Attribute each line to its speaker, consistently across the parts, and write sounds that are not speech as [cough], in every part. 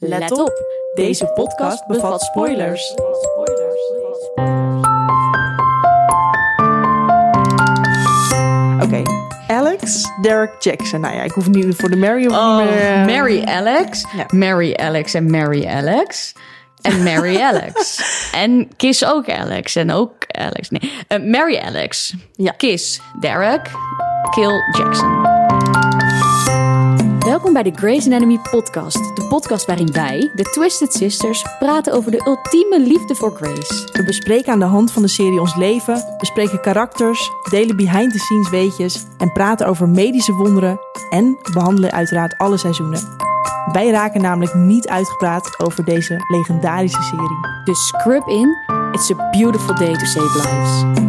Speaker 1: Let op, deze podcast bevat spoilers.
Speaker 2: Oké, Alex, Derek Jackson. Nou ja, ik hoef nu voor de Mary of
Speaker 1: Oh,
Speaker 2: niet meer, eh,
Speaker 1: Mary Alex,
Speaker 2: Ja.
Speaker 1: Mary Alex en Mary Alex. En [laughs] Mary Alex. en Kiss ook Alex. En ook Alex. Nee, eh, Mary Alex.
Speaker 2: Ja.
Speaker 1: Kiss Derek. Kill Jackson. Welkom bij de Grey's Anatomy podcast. De podcast waarin wij, de Twisted Sisters, praten over de ultieme liefde voor Grace.
Speaker 2: We bespreken aan de hand van de serie ons leven, bespreken karakters, delen behind-the-scenes weetjes en praten over medische wonderen en behandelen uiteraard alle seizoenen. Wij raken namelijk niet uitgepraat over deze legendarische serie.
Speaker 1: Dus scrub in. It's a beautiful day to save lives.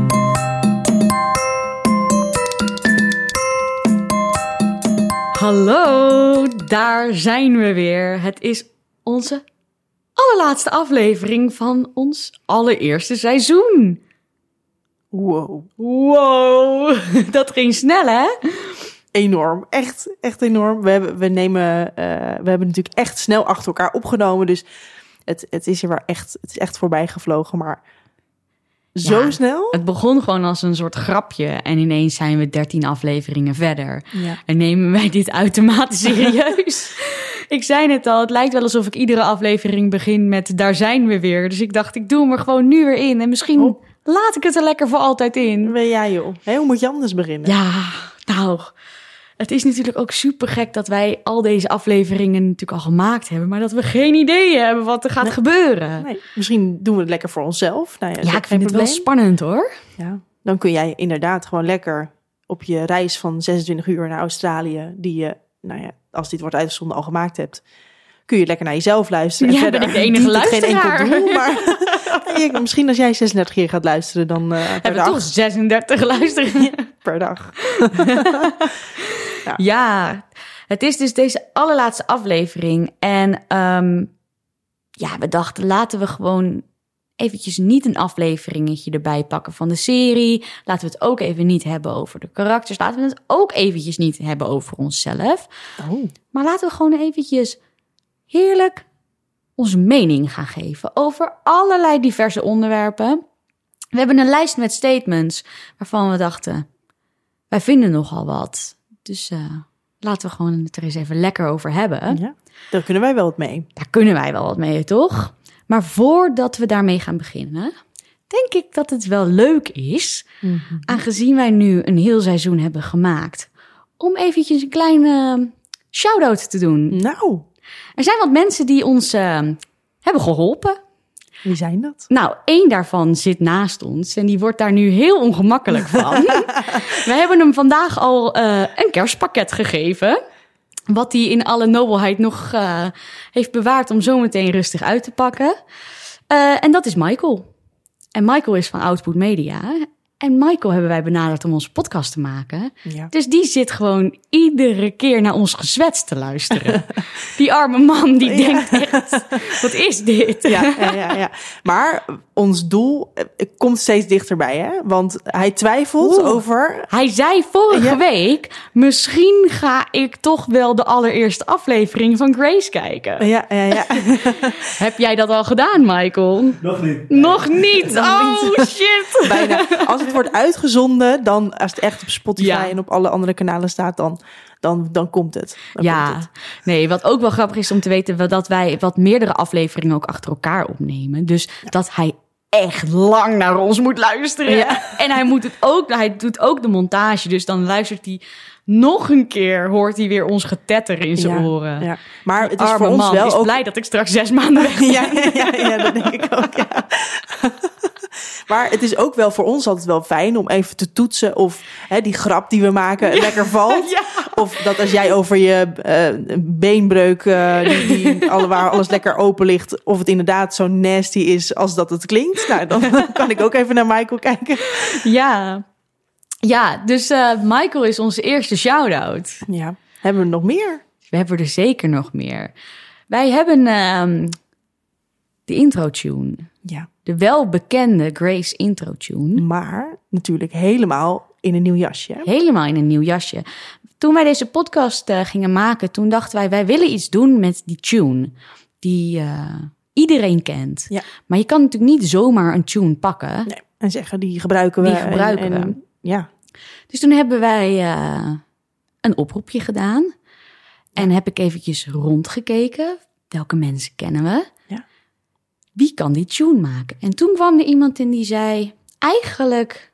Speaker 1: Hallo, daar zijn we weer. Het is onze allerlaatste aflevering van ons allereerste seizoen.
Speaker 2: Wow.
Speaker 1: Wow, [laughs] dat ging snel hè?
Speaker 2: Enorm, echt, echt enorm. We hebben, we, nemen, eh, we hebben natuurlijk echt snel achter elkaar opgenomen, dus het, het is er wel echt, het is echt voorbij gevlogen, maar zo
Speaker 1: Ja.
Speaker 2: snel?
Speaker 1: Het begon gewoon als een soort grapje en ineens zijn we 13 afleveringen verder.
Speaker 2: Ja.
Speaker 1: En nemen wij dit [laughs] uitermate serieus? ik zei het al, het lijkt wel alsof ik iedere aflevering begin met daar zijn we weer. Dus ik dacht, ik doe hem er gewoon nu weer in. En misschien
Speaker 2: Oh.
Speaker 1: laat ik het er lekker voor altijd in.
Speaker 2: Ben jij joh? Hé, hoe moet je anders beginnen?
Speaker 1: Ja, nou. Het is natuurlijk ook super gek dat wij al deze afleveringen natuurlijk al gemaakt hebben, maar dat we geen idee hebben wat er gaat gebeuren.
Speaker 2: Nee, misschien doen we het lekker voor onszelf. Nou ja, dat is
Speaker 1: Ja,
Speaker 2: ook
Speaker 1: ik vind het
Speaker 2: geen
Speaker 1: wel
Speaker 2: probleem.
Speaker 1: spannend hoor.
Speaker 2: Ja. Dan kun jij inderdaad gewoon lekker op je reis van 26 uur naar Australië, die je, nou ja, als dit wordt uitgezonden, al gemaakt hebt, kun je lekker naar jezelf luisteren. En
Speaker 1: Ja,
Speaker 2: verder
Speaker 1: ben ik de enige
Speaker 2: dient het geen enkel
Speaker 1: luisteraar.
Speaker 2: doel, maar [laughs] Ja, misschien als jij 36 keer gaat luisteren dan eh, per,
Speaker 1: Hebben we
Speaker 2: dag,
Speaker 1: toch 36 [laughs] luisteren?
Speaker 2: per dag.
Speaker 1: Ja, het is dus deze allerlaatste aflevering. En ehm, ja, we dachten, laten we gewoon eventjes niet een afleveringetje erbij pakken van de serie. Laten we het ook even niet hebben over de karakters. Laten we het ook eventjes niet hebben over onszelf.
Speaker 2: Oh,
Speaker 1: Maar laten we gewoon eventjes heerlijk onze mening gaan geven over allerlei diverse onderwerpen. We hebben een lijst met statements waarvan we dachten, wij vinden nogal wat. Dus eh, laten we gewoon het er eens even lekker over hebben.
Speaker 2: ja. Daar kunnen wij wel wat mee.
Speaker 1: Daar kunnen wij wel wat mee, toch? Maar voordat we daarmee gaan beginnen, denk ik dat het wel leuk is aangezien wij nu een heel seizoen hebben gemaakt, om eventjes een kleine shout-out te doen.
Speaker 2: Nou,
Speaker 1: Er zijn wat mensen die ons eh, hebben geholpen.
Speaker 2: wie zijn dat?
Speaker 1: Nou, één daarvan zit naast ons en die wordt daar nu heel ongemakkelijk van. We hebben hem vandaag al eh, een kerstpakket gegeven. Wat hij in alle nobelheid nog eh, heeft bewaard om zo meteen rustig uit te pakken. Eh, en dat is Michael. En Michael is van Output Media. En Michael hebben wij benaderd om onze podcast te maken.
Speaker 2: Ja.
Speaker 1: Dus die zit gewoon iedere keer naar ons gezwets te
Speaker 2: [laughs]
Speaker 1: luisteren. Die arme man die
Speaker 2: Ja.
Speaker 1: denkt echt, wat is dit?
Speaker 2: Ja, ja, ja, ja. Maar ons doel eh, komt steeds dichterbij, hè? Want hij twijfelt
Speaker 1: Oeh.
Speaker 2: over.
Speaker 1: Hij zei vorige
Speaker 2: Ja.
Speaker 1: week: misschien ga ik toch wel de allereerste aflevering van Grace kijken.
Speaker 2: Ja, ja, ja.
Speaker 1: Heb jij dat al gedaan, Michael?
Speaker 3: Nog niet.
Speaker 1: Nog niet. Oh shit.
Speaker 2: Bijna. Als het wordt uitgezonden, dan als het echt op Spotify
Speaker 1: Ja.
Speaker 2: en op alle andere kanalen staat, dan, dan, dan komt het. Dan komt het.
Speaker 1: Ja, nee, wat ook wel grappig is om te weten, wel dat wij wat meerdere afleveringen ook achter elkaar opnemen. Dus dat hij echt lang naar ons moet luisteren. [laughs] En hij, moet het ook, hij doet ook de montage, dus dan luistert hij nog een keer, hoort hij weer ons getetter in zijn
Speaker 2: Ja,
Speaker 1: oren.
Speaker 2: ja. Maar het is
Speaker 1: Arme
Speaker 2: voor ons
Speaker 1: man,
Speaker 2: wel
Speaker 1: is
Speaker 2: ook.
Speaker 1: blij dat ik straks zes maanden weg ben.
Speaker 2: [laughs] Ja, ja, ja, ja, dat denk ik ook. Ja. [laughs] Maar het is ook wel voor ons altijd wel fijn om even te toetsen of hè, die grap die we maken lekker valt.
Speaker 1: [laughs] Ja.
Speaker 2: Of dat als jij over je eh, beenbreuk, eh, die,
Speaker 1: [laughs]
Speaker 2: die alle, waar alles lekker open ligt, of het inderdaad zo nasty is als dat het klinkt. Nou, dan [laughs] kan ik ook even naar Michael kijken.
Speaker 1: Ja, ja dus eh, Michael is onze eerste shout-out.
Speaker 2: Ja. Hebben we nog meer?
Speaker 1: We hebben er zeker nog meer. Wij hebben ehm, de intro-tune.
Speaker 2: Ja.
Speaker 1: De welbekende Grace intro-tune.
Speaker 2: Maar natuurlijk helemaal in een nieuw jasje. hè?
Speaker 1: Helemaal in een nieuw jasje. Toen wij deze podcast eh, gingen maken, toen dachten wij, wij willen iets doen met die tune. die eh, iedereen kent.
Speaker 2: Ja.
Speaker 1: Maar je kan natuurlijk niet zomaar een tune pakken.
Speaker 2: Nee. En zeggen, die gebruiken we.
Speaker 1: Die gebruiken
Speaker 2: en, en- Ja,
Speaker 1: Dus toen hebben wij eh, een oproepje gedaan. En heb ik eventjes rondgekeken. Welke mensen kennen we?
Speaker 2: Ja.
Speaker 1: Wie kan die tune maken? En toen kwam er iemand in die zei... Eigenlijk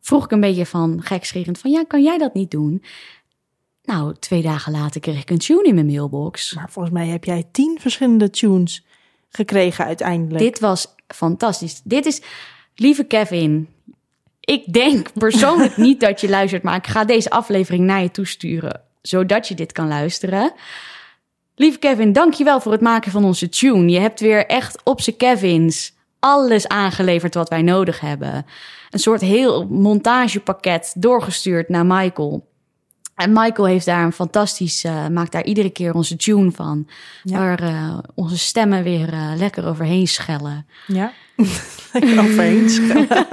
Speaker 1: vroeg ik een beetje van gekscherend van... Ja, kan jij dat niet doen? Nou, twee dagen later kreeg ik een tune in mijn mailbox.
Speaker 2: maar volgens mij heb jij tien verschillende tunes gekregen uiteindelijk.
Speaker 1: Dit was fantastisch. Dit is, lieve Kevin, ik denk persoonlijk niet dat je luistert, maar ik ga deze aflevering naar je toesturen, zodat je dit kan luisteren. Lieve Kevin, dankjewel voor het maken van onze tune. Je hebt weer echt op z'n Kevins alles aangeleverd wat wij nodig hebben. Een soort heel montagepakket doorgestuurd naar Michael. En Michael heeft daar een fantastisch, eh, maakt daar iedere keer onze tune van.
Speaker 2: Ja.
Speaker 1: Waar eh, onze stemmen weer eh, lekker overheen schellen.
Speaker 2: Ja. [laughs]
Speaker 1: [laughs]
Speaker 2: Lekker overheen schrijven.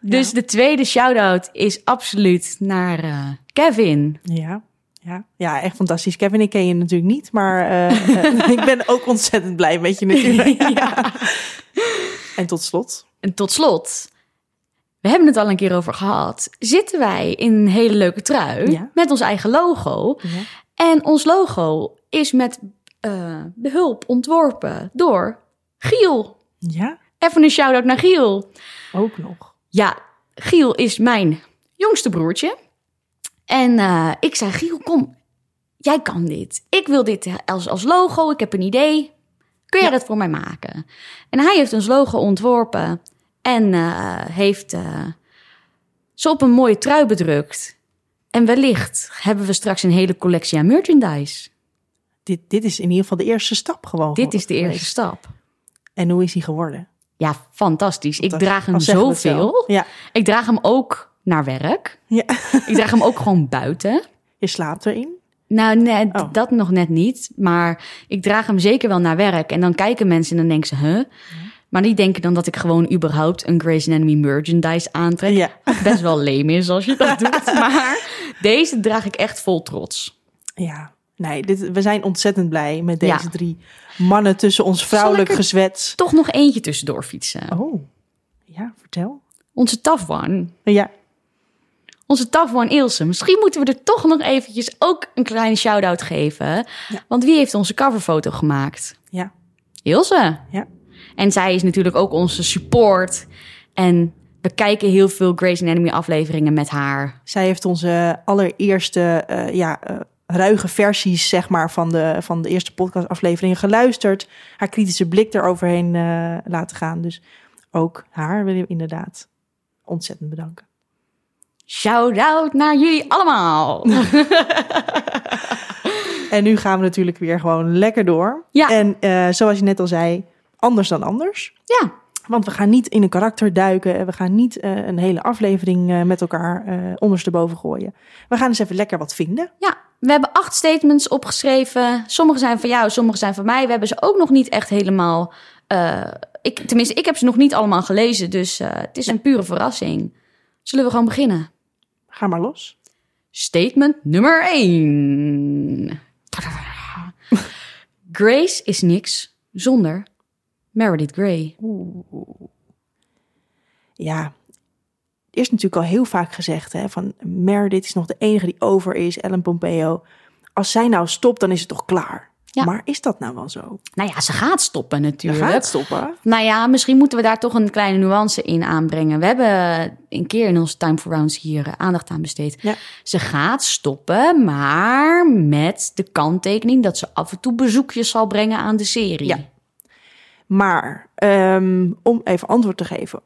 Speaker 1: Dus de tweede shout-out is absoluut naar eh, Kevin.
Speaker 2: Ja. Ja. ja, echt fantastisch. Kevin, ik ken je natuurlijk niet, maar eh, eh, [laughs] ik ben ook ontzettend blij met je
Speaker 1: [laughs]
Speaker 2: natuurlijk.
Speaker 1: Ja.
Speaker 2: [laughs] En tot slot,
Speaker 1: En tot slot, we hebben het al een keer over gehad. Zitten wij in een hele leuke trui
Speaker 2: Ja.
Speaker 1: met ons eigen logo.
Speaker 2: Ja.
Speaker 1: En ons logo is met eh, behulp ontworpen door Giel.
Speaker 2: ja,
Speaker 1: Even een shout-out naar Giel.
Speaker 2: ook nog.
Speaker 1: Ja, Giel is mijn jongste broertje. En eh, ik zei, Giel, kom, jij kan dit. Ik wil dit als, als logo, ik heb een idee. Kun jij dat voor mij maken? En hij heeft ons logo ontworpen en eh, heeft eh, ze op een mooie trui bedrukt. En wellicht hebben we straks een hele collectie aan merchandise.
Speaker 2: Oh, Dit, dit is in ieder geval de eerste stap gewoon.
Speaker 1: Dit is de
Speaker 2: geweest.
Speaker 1: eerste stap.
Speaker 2: En hoe is die geworden?
Speaker 1: Ja, fantastisch. Ik
Speaker 2: Dat-
Speaker 1: draag hem
Speaker 2: al zeggen we het
Speaker 1: zoveel.
Speaker 2: wel. Ja. [laughs]
Speaker 1: Ik draag hem ook naar werk.
Speaker 2: ja,
Speaker 1: Ik draag hem ook gewoon buiten.
Speaker 2: je slaapt erin.
Speaker 1: Nou, nee, d-
Speaker 2: Oh.
Speaker 1: dat nog net niet. Maar ik draag hem zeker wel naar werk. En dan kijken mensen en dan denken ze, huh? Maar die denken dan dat ik gewoon überhaupt een Grey's Anatomy merchandise aantrek.
Speaker 2: Ja.
Speaker 1: Wat Best wel leem is als je
Speaker 2: [laughs]
Speaker 1: dat doet. Maar deze draag ik echt vol trots.
Speaker 2: Ja, nee, dit, we zijn ontzettend blij met deze
Speaker 1: Ja.
Speaker 2: drie mannen tussen ons vrouwelijk
Speaker 1: Zal ik er-
Speaker 2: gezwets.
Speaker 1: Toch nog eentje tussendoor fietsen.
Speaker 2: Oh, ja, vertel.
Speaker 1: Onze tough one.
Speaker 2: Ja,
Speaker 1: Onze tough one Ilse. Misschien moeten we er toch nog eventjes ook een kleine shout-out geven. Want wie heeft onze coverfoto gemaakt?
Speaker 2: ja,
Speaker 1: Ilse.
Speaker 2: Ja.
Speaker 1: En zij is natuurlijk ook onze support. En we kijken heel veel Grey's Anatomy afleveringen met haar.
Speaker 2: Zij heeft onze allereerste eh, ja, eh, ruige versies zeg maar, van, de, van de eerste podcastafleveringen geluisterd. Haar kritische blik eroverheen eh, laten gaan. Dus ook haar willen we inderdaad ontzettend bedanken.
Speaker 1: Shout-out naar jullie allemaal.
Speaker 2: En nu gaan we natuurlijk weer gewoon lekker door.
Speaker 1: Ja.
Speaker 2: En eh, zoals je net al zei, anders dan anders.
Speaker 1: ja,
Speaker 2: Want we gaan niet in een karakter duiken. We gaan niet eh, een hele aflevering eh, met elkaar eh, ondersteboven gooien. We gaan eens even lekker wat vinden.
Speaker 1: ja, we hebben acht statements opgeschreven. Sommige zijn van jou, sommige zijn van mij. We hebben ze ook nog niet echt helemaal... eh, ik, tenminste, ik heb ze nog niet allemaal gelezen. Dus eh, het is een pure verrassing. Zullen we gewoon beginnen?
Speaker 2: Ga maar los.
Speaker 1: Statement nummer 1. [laughs] Grace is niks zonder Meredith Grey.
Speaker 2: Ja, er is natuurlijk al heel vaak gezegd hè, van Meredith is nog de enige die over is, Ellen Pompeo. Als zij nou stopt, dan is het toch klaar.
Speaker 1: Ja.
Speaker 2: Maar is dat nou wel zo?
Speaker 1: Nou ja, ze gaat stoppen
Speaker 2: Je
Speaker 1: natuurlijk.
Speaker 2: gaat stoppen.
Speaker 1: Nou ja, misschien moeten we daar toch een kleine nuance in aanbrengen. We hebben een keer in onze Time for Rounds hier eh, aandacht aan besteed.
Speaker 2: Ja.
Speaker 1: Ze gaat stoppen, maar met de kanttekening dat ze af en toe bezoekjes zal brengen aan de serie.
Speaker 2: Ja. Maar ehm, om even antwoord te geven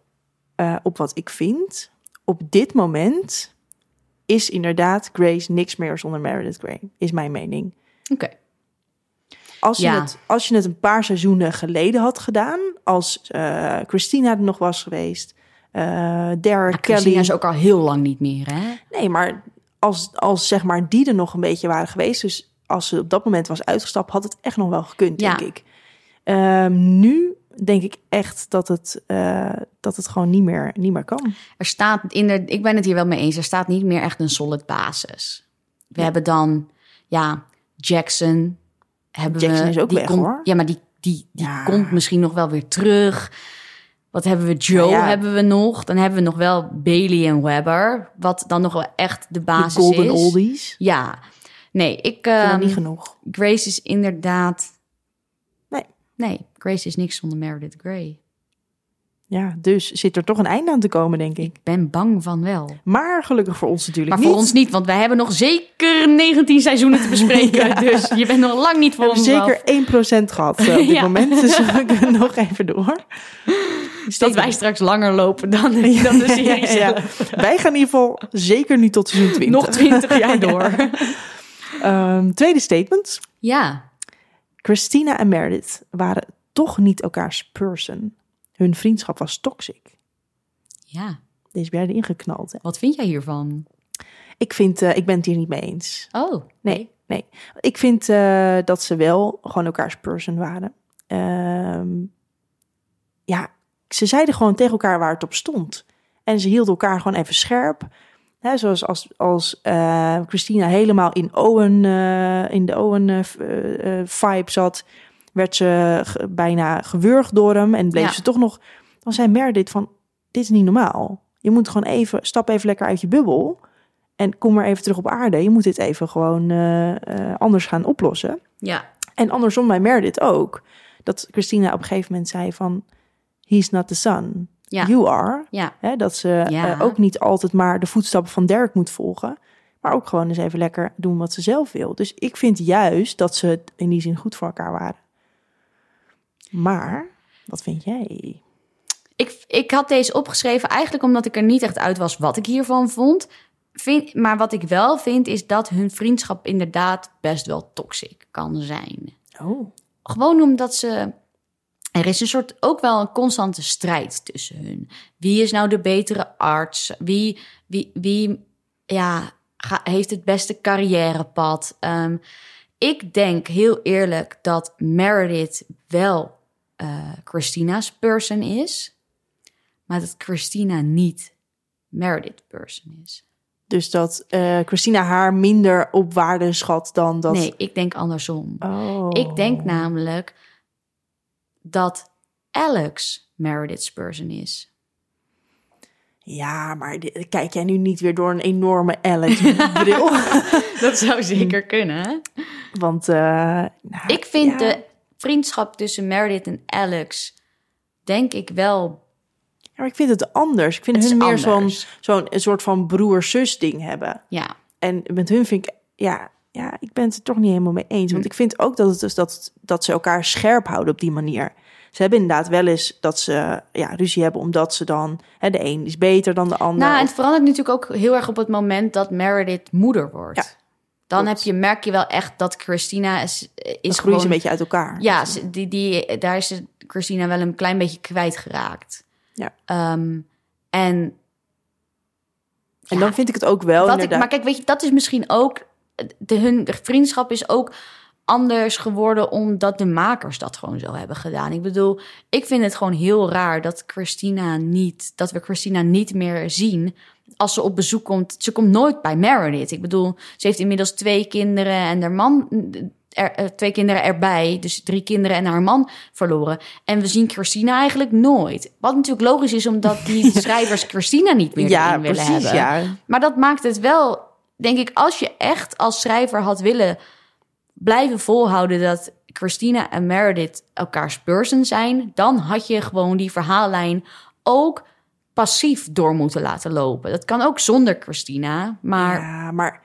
Speaker 2: eh, op wat ik vind. Op dit moment is inderdaad Grace niks meer zonder Meredith Grey, is mijn mening.
Speaker 1: Oké.
Speaker 2: Als je,
Speaker 1: Ja.
Speaker 2: het, als je het een paar seizoenen geleden had gedaan, als eh, Christina er nog was geweest, eh Derek
Speaker 1: Maar
Speaker 2: Kelly.
Speaker 1: Christina is ook al heel lang niet meer, hè?
Speaker 2: Nee, maar als, als zeg maar die er nog een beetje waren geweest, dus als ze op dat moment was uitgestapt, had het echt nog wel gekund,
Speaker 1: Ja.
Speaker 2: denk ik. Ehm, nu denk ik echt dat het, eh, dat het gewoon niet meer, niet meer kan.
Speaker 1: Er staat in de, ik ben het hier wel mee eens. Er staat niet meer echt een solid basis. We hebben dan, ja, Jackson, hebben
Speaker 2: Jackson
Speaker 1: we...
Speaker 2: is ook
Speaker 1: die
Speaker 2: weg,
Speaker 1: komt-
Speaker 2: hoor.
Speaker 1: Ja, maar die, die, die
Speaker 2: Ja.
Speaker 1: komt misschien nog wel weer terug. Wat hebben we? Joe
Speaker 2: Ja, ja.
Speaker 1: hebben we nog. Dan hebben we nog wel Bailey en Webber. Wat dan nog wel echt de
Speaker 2: De
Speaker 1: basis
Speaker 2: Golden
Speaker 1: is.
Speaker 2: Oldies.
Speaker 1: Ja. Nee, ik...
Speaker 2: Ik vind
Speaker 1: ehm,
Speaker 2: dat niet genoeg.
Speaker 1: Grace is inderdaad...
Speaker 2: Nee.
Speaker 1: Nee, Grace is niks zonder Meredith Grey.
Speaker 2: Ja, dus zit er toch een einde aan te komen, denk ik.
Speaker 1: Ik ben bang van wel.
Speaker 2: Maar gelukkig voor ons natuurlijk
Speaker 1: Maar
Speaker 2: niet.
Speaker 1: voor ons niet, want wij hebben nog zeker 19 seizoenen te [laughs] bespreken.
Speaker 2: Ja.
Speaker 1: Dus je bent nog lang niet voor
Speaker 2: We
Speaker 1: ons af.
Speaker 2: hebben zeker 1% gehad eh, op dit
Speaker 1: [laughs] Ja.
Speaker 2: moment. Dus we kunnen nog even
Speaker 1: [laughs]
Speaker 2: door.
Speaker 1: Dus dat wij straks langer lopen [laughs] dan, dan de serie
Speaker 2: Ja, ja, ja.
Speaker 1: zelf.
Speaker 2: Wij gaan in ieder geval zeker nu tot seizoen 20.
Speaker 1: Nog 20 jaar door.
Speaker 2: Ehm, tweede statement.
Speaker 1: [laughs] Ja,
Speaker 2: Christina en Meredith waren toch niet elkaars person. Hun vriendschap was toxic.
Speaker 1: ja.
Speaker 2: Deze werden ingeknald. hè.
Speaker 1: Wat vind jij hiervan?
Speaker 2: Ik, vind, eh, ik ben het hier niet mee eens.
Speaker 1: Oh,
Speaker 2: Nee, nee. Ik vind eh, dat ze wel gewoon elkaars person waren. Ehm, ja, ze zeiden gewoon tegen elkaar waar het op stond. En ze hielden elkaar gewoon even scherp. Hè, zoals als, als eh, Christina helemaal in, Owen, eh, in de Owen-vibe zat, werd ze ge- bijna gewurgd door hem en bleef
Speaker 1: Ja.
Speaker 2: ze toch nog. Dan zei Meredith van, dit is niet normaal. Je moet gewoon even, stap even lekker uit je bubbel. En kom maar even terug op aarde. Je moet dit even gewoon eh, eh, anders gaan oplossen.
Speaker 1: ja.
Speaker 2: En andersom bij Meredith ook. Dat Christina op een gegeven moment zei van... He's not the son.
Speaker 1: Ja.
Speaker 2: You are.
Speaker 1: Ja,
Speaker 2: Hè, dat ze
Speaker 1: Ja.
Speaker 2: eh, ook niet altijd maar de voetstappen van Dirk moet volgen. Maar ook gewoon eens even lekker doen wat ze zelf wil. Dus ik vind juist dat ze het in die zin goed voor elkaar waren. Maar, wat vind jij?
Speaker 1: ik, ik had deze opgeschreven eigenlijk omdat ik er niet echt uit was wat ik hiervan vond. Vind, maar wat ik wel vind is dat hun vriendschap inderdaad best wel toxic kan zijn.
Speaker 2: Oh,
Speaker 1: Gewoon omdat ze. Er is een soort ook wel een constante strijd tussen hun. Wie is nou de betere arts? Wie, wie, wie ja, ga- heeft het beste carrièrepad? Ehm, ik denk heel eerlijk dat Meredith wel eh, Christina's person is, maar dat Christina niet Meredith person is.
Speaker 2: dus dat eh, Christina haar minder op waarde schat dan dat...
Speaker 1: Nee, ik denk andersom.
Speaker 2: Oh.
Speaker 1: Ik denk namelijk dat Alex Meredith's person is.
Speaker 2: Ja, maar di- kijk jij nu niet weer door een enorme Alex-bril? [laughs]
Speaker 1: Dat zou [laughs] zeker kunnen.
Speaker 2: Want eh, nou,
Speaker 1: Ik vind
Speaker 2: ja,
Speaker 1: de vriendschap tussen Meredith en Alex, denk ik wel.
Speaker 2: ja, maar ik vind het anders. Ik vind
Speaker 1: Het is
Speaker 2: hun meer zo'n
Speaker 1: anders.
Speaker 2: zo'n een soort van broer-zus ding hebben.
Speaker 1: Ja,
Speaker 2: En met hun vind ik, ja, ja, ik ben het er toch niet helemaal mee eens.
Speaker 1: Hm.
Speaker 2: Want ik vind ook dat, het dus dat, dat ze elkaar scherp houden op die manier. Ze hebben inderdaad wel eens dat ze ja, ruzie hebben omdat ze dan... Hè, de een is beter dan de ander.
Speaker 1: nou, en
Speaker 2: Of-
Speaker 1: het verandert natuurlijk ook heel erg op het moment dat Meredith moeder wordt.
Speaker 2: Ja,
Speaker 1: Dan
Speaker 2: klopt.
Speaker 1: heb je, merk je wel echt dat Christina is, is
Speaker 2: dan groeien
Speaker 1: gewoon...
Speaker 2: ze een beetje uit elkaar.
Speaker 1: Ja, ze- die, die, daar is ze- Christina wel een klein beetje kwijtgeraakt.
Speaker 2: Ja.
Speaker 1: Ehm, en
Speaker 2: En dan vind ik het ook wel
Speaker 1: Wat ik,
Speaker 2: inderdaad...
Speaker 1: maar kijk, weet je, dat is misschien ook. De, hun de vriendschap is ook anders geworden omdat de makers dat gewoon zo hebben gedaan. Ik bedoel, ik vind het gewoon heel raar dat Christina niet, dat we Christina niet meer zien als ze op bezoek komt. Ze komt nooit bij Meredith. Ik bedoel, ze heeft inmiddels twee kinderen en haar man, er, eh, twee kinderen erbij, dus drie kinderen en haar man verloren. En we zien Christina eigenlijk nooit. Wat natuurlijk logisch is, omdat
Speaker 2: [laughs]
Speaker 1: die schrijvers Christina niet meer
Speaker 2: ja,
Speaker 1: erin willen
Speaker 2: precies,
Speaker 1: hebben.
Speaker 2: ja.
Speaker 1: Maar dat maakt het wel, denk ik, als je echt als schrijver had willen blijven volhouden dat Christina en Meredith elkaars person zijn, dan had je gewoon die verhaallijn ook passief door moeten laten lopen. Dat kan ook zonder Christina, maar
Speaker 2: Ja, maar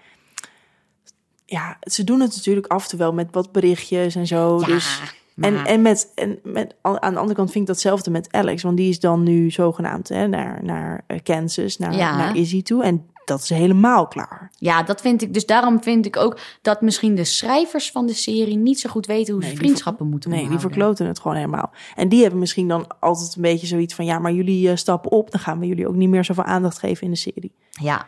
Speaker 2: ja, ze doen het natuurlijk af en toe wel met wat berichtjes en zo.
Speaker 1: Ja,
Speaker 2: dus, en,
Speaker 1: maar-
Speaker 2: en, met, en met, aan de andere kant vind ik datzelfde met Alex. Want die is dan nu zogenaamd hè, naar, naar eh, Kansas, naar,
Speaker 1: Ja.
Speaker 2: naar Izzy toe. En dat is helemaal klaar.
Speaker 1: ja, dat vind ik. Dus daarom vind ik ook dat misschien de schrijvers van de serie niet zo goed weten hoe ze
Speaker 2: Nee, die
Speaker 1: vriendschappen moeten
Speaker 2: Nee, die
Speaker 1: onderhouden.
Speaker 2: verkloten het gewoon helemaal. En die hebben misschien dan altijd een beetje zoiets van... ja, maar jullie eh, stappen op, dan gaan we jullie ook niet meer zoveel aandacht geven in de serie.
Speaker 1: Ja,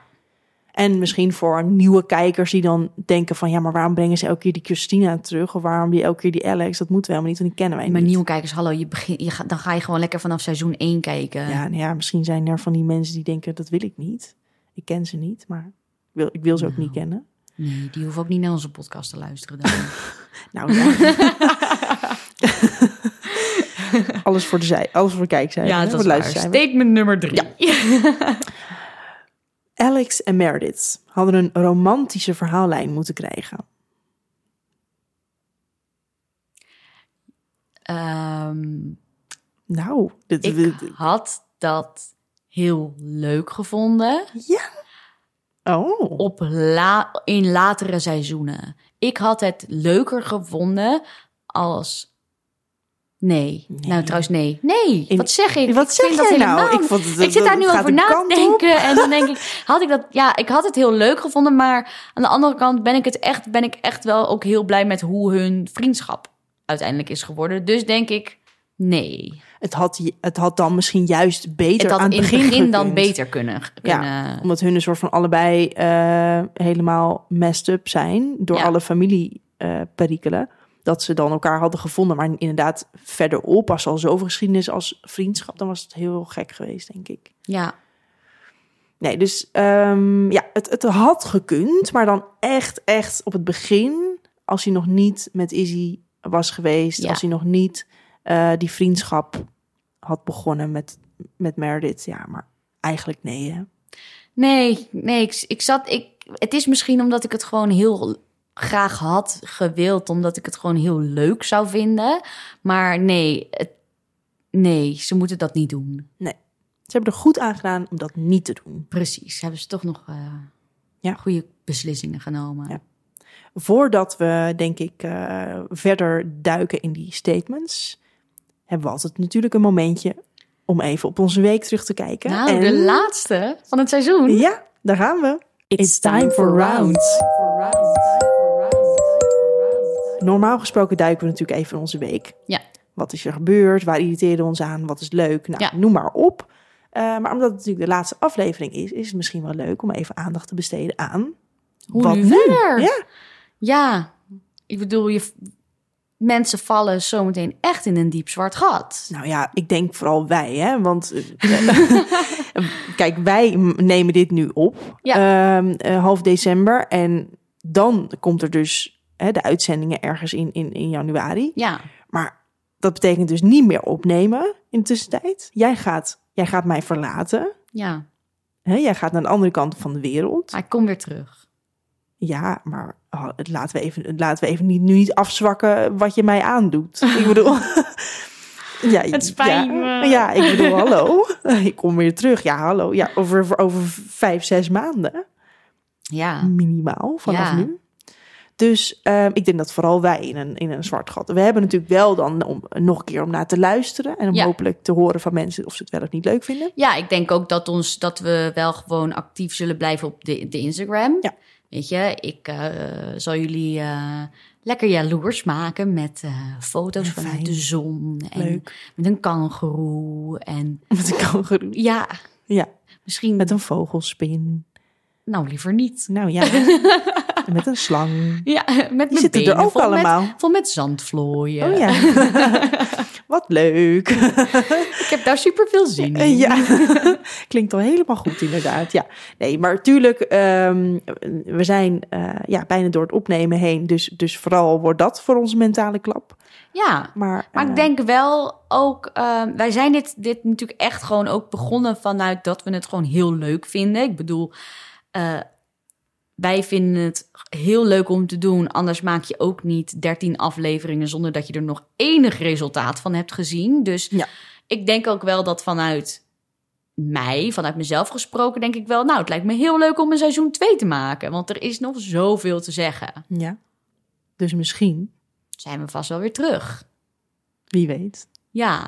Speaker 2: En misschien voor nieuwe kijkers die dan denken van... ja, maar waarom brengen ze elke keer die Christina terug? Of waarom die elke keer die Alex? Dat moeten we helemaal niet, want die kennen wij
Speaker 1: maar
Speaker 2: niet.
Speaker 1: nieuwe kijkers, hallo, je begin, je gaat, dan ga je gewoon lekker vanaf seizoen 1 kijken.
Speaker 2: Ja, nou ja, misschien
Speaker 1: Nou.
Speaker 2: zijn er van die mensen die denken dat wil ik niet. Ik ken ze niet, maar ik wil, ik wil ze ook niet kennen.
Speaker 1: Nee, die hoeven ook niet naar onze podcast te luisteren. Dan. [laughs]
Speaker 2: Nou ja. alles voor de zij, alles voor de kijk zijn.
Speaker 1: ja, dat is waar.
Speaker 2: luisteren
Speaker 1: Statement nummer drie.
Speaker 2: Alex en Meredith hadden een romantische verhaallijn moeten krijgen.
Speaker 1: Ehm,
Speaker 2: Nou, dit,
Speaker 1: ik
Speaker 2: dit-
Speaker 1: had dat heel leuk gevonden
Speaker 2: ja. Oh,
Speaker 1: op la, in latere seizoenen. Ik had het leuker gevonden als... Nee.
Speaker 2: Nee.
Speaker 1: Nou, trouwens, nee. Nee,
Speaker 2: In-
Speaker 1: wat zeg ik?
Speaker 2: wat
Speaker 1: Ik
Speaker 2: zeg
Speaker 1: vind dat
Speaker 2: jij nou?
Speaker 1: helemaal
Speaker 2: Ik, vond het,
Speaker 1: ik zit daar nu
Speaker 2: het gaat
Speaker 1: over
Speaker 2: een
Speaker 1: na
Speaker 2: kant
Speaker 1: te
Speaker 2: op.
Speaker 1: denken. En dan denk ik, had ik dat. Ja, ik had het heel leuk gevonden. Maar aan de andere kant ben ik het echt, ben ik echt wel ook heel blij met hoe hun vriendschap uiteindelijk is geworden. Dus denk ik, nee.
Speaker 2: Het had, het had dan misschien juist beter
Speaker 1: het had
Speaker 2: aan
Speaker 1: in het begin dan
Speaker 2: gekund.
Speaker 1: beter kunnen.
Speaker 2: Ja,
Speaker 1: kunnen. Ja,
Speaker 2: Omdat hun een soort van allebei eh, helemaal messed up zijn door
Speaker 1: Ja.
Speaker 2: alle familieperikelen. dat ze dan elkaar hadden gevonden. Maar inderdaad, verderop was al zoveel geschiedenis als vriendschap. Dan was het heel gek geweest, denk ik. Nee, dus ehm, ja, het, het had gekund. Maar dan echt, echt op het begin. Als hij nog niet met Izzy was geweest.
Speaker 1: Ja.
Speaker 2: Als hij nog niet eh, die vriendschap had begonnen met, met Meredith. Ja, maar eigenlijk nee, hè?
Speaker 1: Nee, nee. Ik, ik zat. Ik, het is misschien omdat ik het gewoon heel graag had gewild. Omdat ik het gewoon heel leuk zou vinden. Maar nee, het- nee, ze moeten dat niet doen.
Speaker 2: Ze hebben er goed aan gedaan om dat niet te doen.
Speaker 1: Precies, hebben ze toch nog eh,
Speaker 2: Ja.
Speaker 1: goede beslissingen genomen.
Speaker 2: Ja. Voordat we, denk ik, eh, verder duiken in die statements, hebben we altijd natuurlijk een momentje om even op onze week terug te kijken.
Speaker 1: Nou,
Speaker 2: En-
Speaker 1: de laatste van het seizoen.
Speaker 2: Ja, daar gaan we. It's time for round. Normaal gesproken duiken we natuurlijk even in onze week.
Speaker 1: Ja.
Speaker 2: Wat is er gebeurd? Waar irriteren we ons aan? Wat is leuk? Nou,
Speaker 1: Ja.
Speaker 2: noem maar op. Eh, maar omdat het natuurlijk de laatste aflevering is, is het misschien wel leuk om even aandacht te besteden aan.
Speaker 1: Hoe
Speaker 2: Wat
Speaker 1: nu
Speaker 2: nu?
Speaker 1: verder?
Speaker 2: Ja,
Speaker 1: Ja. ik bedoel, je, mensen vallen zometeen echt in een diep zwart gat.
Speaker 2: Nou ja, ik denk vooral wij, hè? Want eh, kijk, wij m- nemen dit nu op, Ehm, eh, half december. En dan komt er dus hè, de uitzendingen ergens in, in, in januari.
Speaker 1: Ja,
Speaker 2: Maar dat betekent dus niet meer opnemen in de tussentijd. Jij gaat, jij gaat mij verlaten.
Speaker 1: ja.
Speaker 2: Hè? Jij gaat naar de andere kant van de wereld.
Speaker 1: Maar ik kom weer terug.
Speaker 2: Ja, maar oh, het laten we even, het laten we even niet, nu niet afzwakken wat je mij aandoet. Ik bedoel. [laughs] ja,
Speaker 1: Het spijt
Speaker 2: ja,
Speaker 1: me.
Speaker 2: Ja, ik bedoel, hallo. [laughs] Ik kom weer terug. Ja, hallo. Ja, over, over vijf, zes maanden Mm.
Speaker 1: Ja,
Speaker 2: minimaal vanaf
Speaker 1: Ja.
Speaker 2: nu. Dus ehm, ik denk dat vooral wij in een, in een zwart gat. We hebben natuurlijk wel dan om nog een keer om naar te luisteren. En om
Speaker 1: Ja.
Speaker 2: hopelijk te horen van mensen of ze het wel of niet leuk vinden.
Speaker 1: ja ik denk ook dat, ons, dat we wel gewoon actief zullen blijven op de, de Instagram.
Speaker 2: Ja.
Speaker 1: Weet je, ik eh, zal jullie eh, lekker jaloers maken met eh, foto's
Speaker 2: Ja,
Speaker 1: vanuit
Speaker 2: fijn.
Speaker 1: de zon. En [laughs]
Speaker 2: Leuk.
Speaker 1: Met een kangeroe en
Speaker 2: Met een kangoeroe.
Speaker 1: ja,
Speaker 2: Ja,
Speaker 1: misschien.
Speaker 2: met een vogelspin.
Speaker 1: Nou, liever niet.
Speaker 2: Nou
Speaker 1: [laughs]
Speaker 2: ja, En met een slang.
Speaker 1: Ja, met mijn
Speaker 2: Die zitten er
Speaker 1: benen
Speaker 2: ook
Speaker 1: vol
Speaker 2: allemaal.
Speaker 1: Met, vol met zandvlooien.
Speaker 2: Oh ja. [laughs] Wat leuk.
Speaker 1: Ik heb daar super veel zin in.
Speaker 2: Eh, [laughs] ja, klinkt al helemaal goed inderdaad. Ja, nee, maar tuurlijk, ehm, we zijn eh, ja, bijna door het opnemen heen. Dus, dus vooral wordt dat voor onze mentale klap.
Speaker 1: Ja,
Speaker 2: Maar,
Speaker 1: Maar
Speaker 2: eh,
Speaker 1: ik denk wel ook, eh, wij zijn dit, dit natuurlijk echt gewoon ook begonnen vanuit dat we het gewoon heel leuk vinden. Ik bedoel, eh, wij vinden het heel leuk om te doen. Anders maak je ook niet 13 afleveringen zonder dat je er nog enig resultaat van hebt gezien. Dus
Speaker 2: Ja.
Speaker 1: ik denk ook wel dat vanuit mij, vanuit mezelf gesproken, denk ik wel, nou, het lijkt me heel leuk om een seizoen 2 te maken. Want er is nog zoveel te zeggen.
Speaker 2: Ja. Dus misschien,
Speaker 1: Zijn we vast wel weer terug.
Speaker 2: wie weet.
Speaker 1: Ja,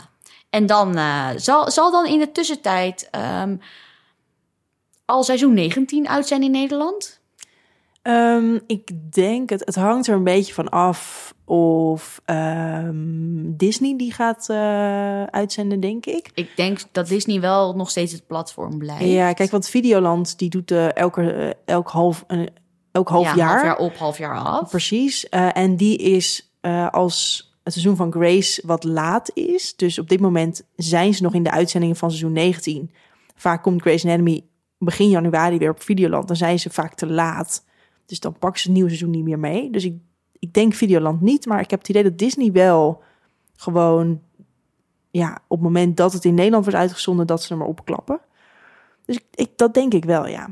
Speaker 1: en dan eh, zal, zal dan in de tussentijd ehm, al seizoen 19 uit zijn in Nederland?
Speaker 2: Ehm, ik denk, het, het hangt er een beetje van af of ehm, Disney die gaat eh, uitzenden, denk ik.
Speaker 1: Ik denk dat Disney wel nog steeds het platform blijft.
Speaker 2: Ja, kijk, want Videoland die doet eh, elke, eh, elk half, eh, elk half
Speaker 1: Ja,
Speaker 2: jaar.
Speaker 1: half jaar op, half jaar af.
Speaker 2: Precies. Eh, en die is eh, als het seizoen van Grace wat laat is. Dus op dit moment zijn ze nog in de uitzendingen van seizoen 19. Vaak komt Grace Anatomy begin januari weer op Videoland. Dan zijn ze vaak te laat. Dus dan pakken ze het nieuwe seizoen niet meer mee. Dus ik, ik denk Videoland niet. Maar ik heb het idee dat Disney wel gewoon... Ja, op het moment dat het in Nederland wordt uitgezonden... dat ze hem maar opklappen. Dus ik, ik, dat denk ik wel, ja.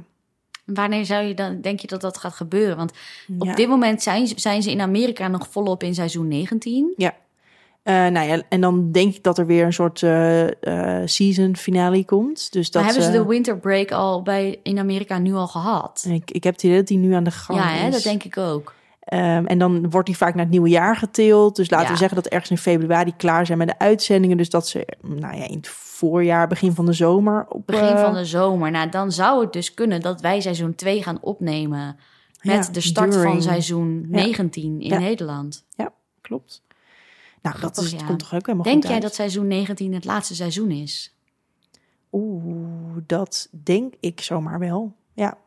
Speaker 1: Wanneer zou je dan, denk je dat dat gaat gebeuren? Want
Speaker 2: Ja.
Speaker 1: op dit moment zijn, ze- zijn ze in Amerika nog volop in seizoen 19.
Speaker 2: Eh, nou ja, en dan denk ik dat er weer een soort eh, eh, season finale komt. Dus dat
Speaker 1: maar hebben ze
Speaker 2: ze-
Speaker 1: de winter break al bij, in Amerika nu al gehad?
Speaker 2: En ik, ik heb het idee dat die nu aan de gang
Speaker 1: Ja,
Speaker 2: is.
Speaker 1: hè, dat denk ik ook.
Speaker 2: Ehm, en dan wordt die vaak naar het nieuwe jaar getild. Dus laten
Speaker 1: Ja.
Speaker 2: we zeggen dat ergens in februari klaar zijn met de uitzendingen. Dus dat ze nou ja, in het voorjaar, begin van de zomer... Op,
Speaker 1: Begin
Speaker 2: eh,
Speaker 1: van de zomer. Nou, dan zou het dus kunnen dat wij seizoen 2 gaan opnemen. Met
Speaker 2: ja,
Speaker 1: de start van
Speaker 2: during.
Speaker 1: seizoen 19 in
Speaker 2: Ja.
Speaker 1: Nederland.
Speaker 2: Klopt. Nou, dat
Speaker 1: Grappig,
Speaker 2: is,
Speaker 1: ja.
Speaker 2: komt toch ook helemaal
Speaker 1: Denk
Speaker 2: goed
Speaker 1: jij
Speaker 2: uit?
Speaker 1: dat seizoen 19 het laatste seizoen is?
Speaker 2: Oeh, dat denk ik zomaar wel. Ja.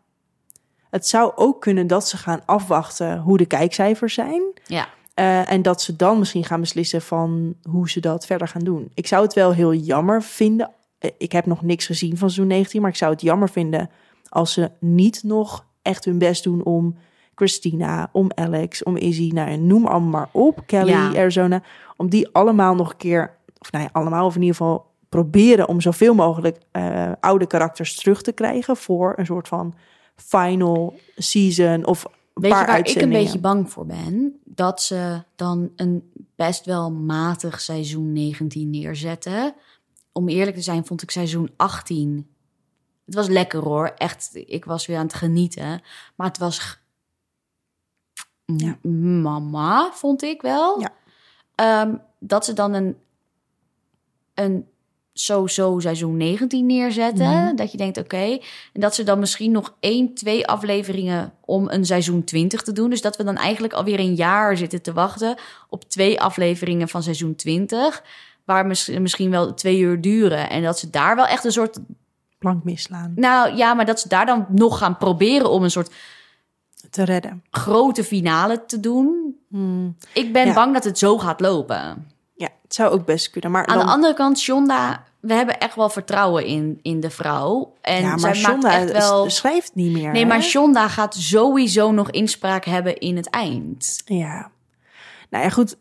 Speaker 2: Het zou ook kunnen dat ze gaan afwachten hoe de kijkcijfers zijn.
Speaker 1: Ja.
Speaker 2: Eh, en dat ze dan misschien gaan beslissen van hoe ze dat verder gaan doen. Ik zou het wel heel jammer vinden. eh, Ik heb nog niks gezien van seizoen 19, maar ik zou het jammer vinden als ze niet nog echt hun best doen om Christina, om Alex, om Izzy, nou, en noem allemaal maar op, Kelly,
Speaker 1: Ja.
Speaker 2: Arizona, om die allemaal nog een keer, of nou ja, allemaal of in ieder geval proberen om zoveel mogelijk eh, oude karakters terug te krijgen voor een soort van final season of een
Speaker 1: Weet
Speaker 2: paar
Speaker 1: je waar ik een
Speaker 2: uitzendingen.
Speaker 1: beetje bang voor ben? Dat ze dan een best wel matig seizoen 19 neerzetten. Om eerlijk te zijn, vond ik seizoen 18. Het was lekker hoor. Echt, ik was weer aan het genieten. Maar het was. g-
Speaker 2: Ja.
Speaker 1: M- Mama, vond ik wel.
Speaker 2: Ja.
Speaker 1: Ehm, dat ze dan een. een zo-zo seizoen 19 neerzetten.
Speaker 2: Mhm.
Speaker 1: Dat je denkt, oké, en dat ze dan misschien nog één, twee afleveringen om een seizoen 20 te doen. Dus dat we dan eigenlijk alweer een jaar zitten te wachten op twee afleveringen van seizoen 20. Waar mis- misschien wel twee uur duren. En dat ze daar wel echt een soort.
Speaker 2: plank misslaan,
Speaker 1: Nou ja, maar dat ze daar dan nog gaan proberen om een soort
Speaker 2: te redden.
Speaker 1: grote finale te doen.
Speaker 2: Hmm.
Speaker 1: Ik ben
Speaker 2: Ja.
Speaker 1: bang dat het zo gaat lopen.
Speaker 2: Ja, het zou ook best kunnen. Maar
Speaker 1: Aan
Speaker 2: dan,
Speaker 1: de andere kant, Shonda, we hebben echt wel vertrouwen in, in de vrouw. En
Speaker 2: ja, maar
Speaker 1: zij
Speaker 2: Shonda
Speaker 1: maakt echt wel.
Speaker 2: s- schrijft niet meer.
Speaker 1: Nee, maar
Speaker 2: hè?
Speaker 1: Shonda gaat sowieso nog inspraak hebben in het eind.
Speaker 2: Ja. Nou ja, goed.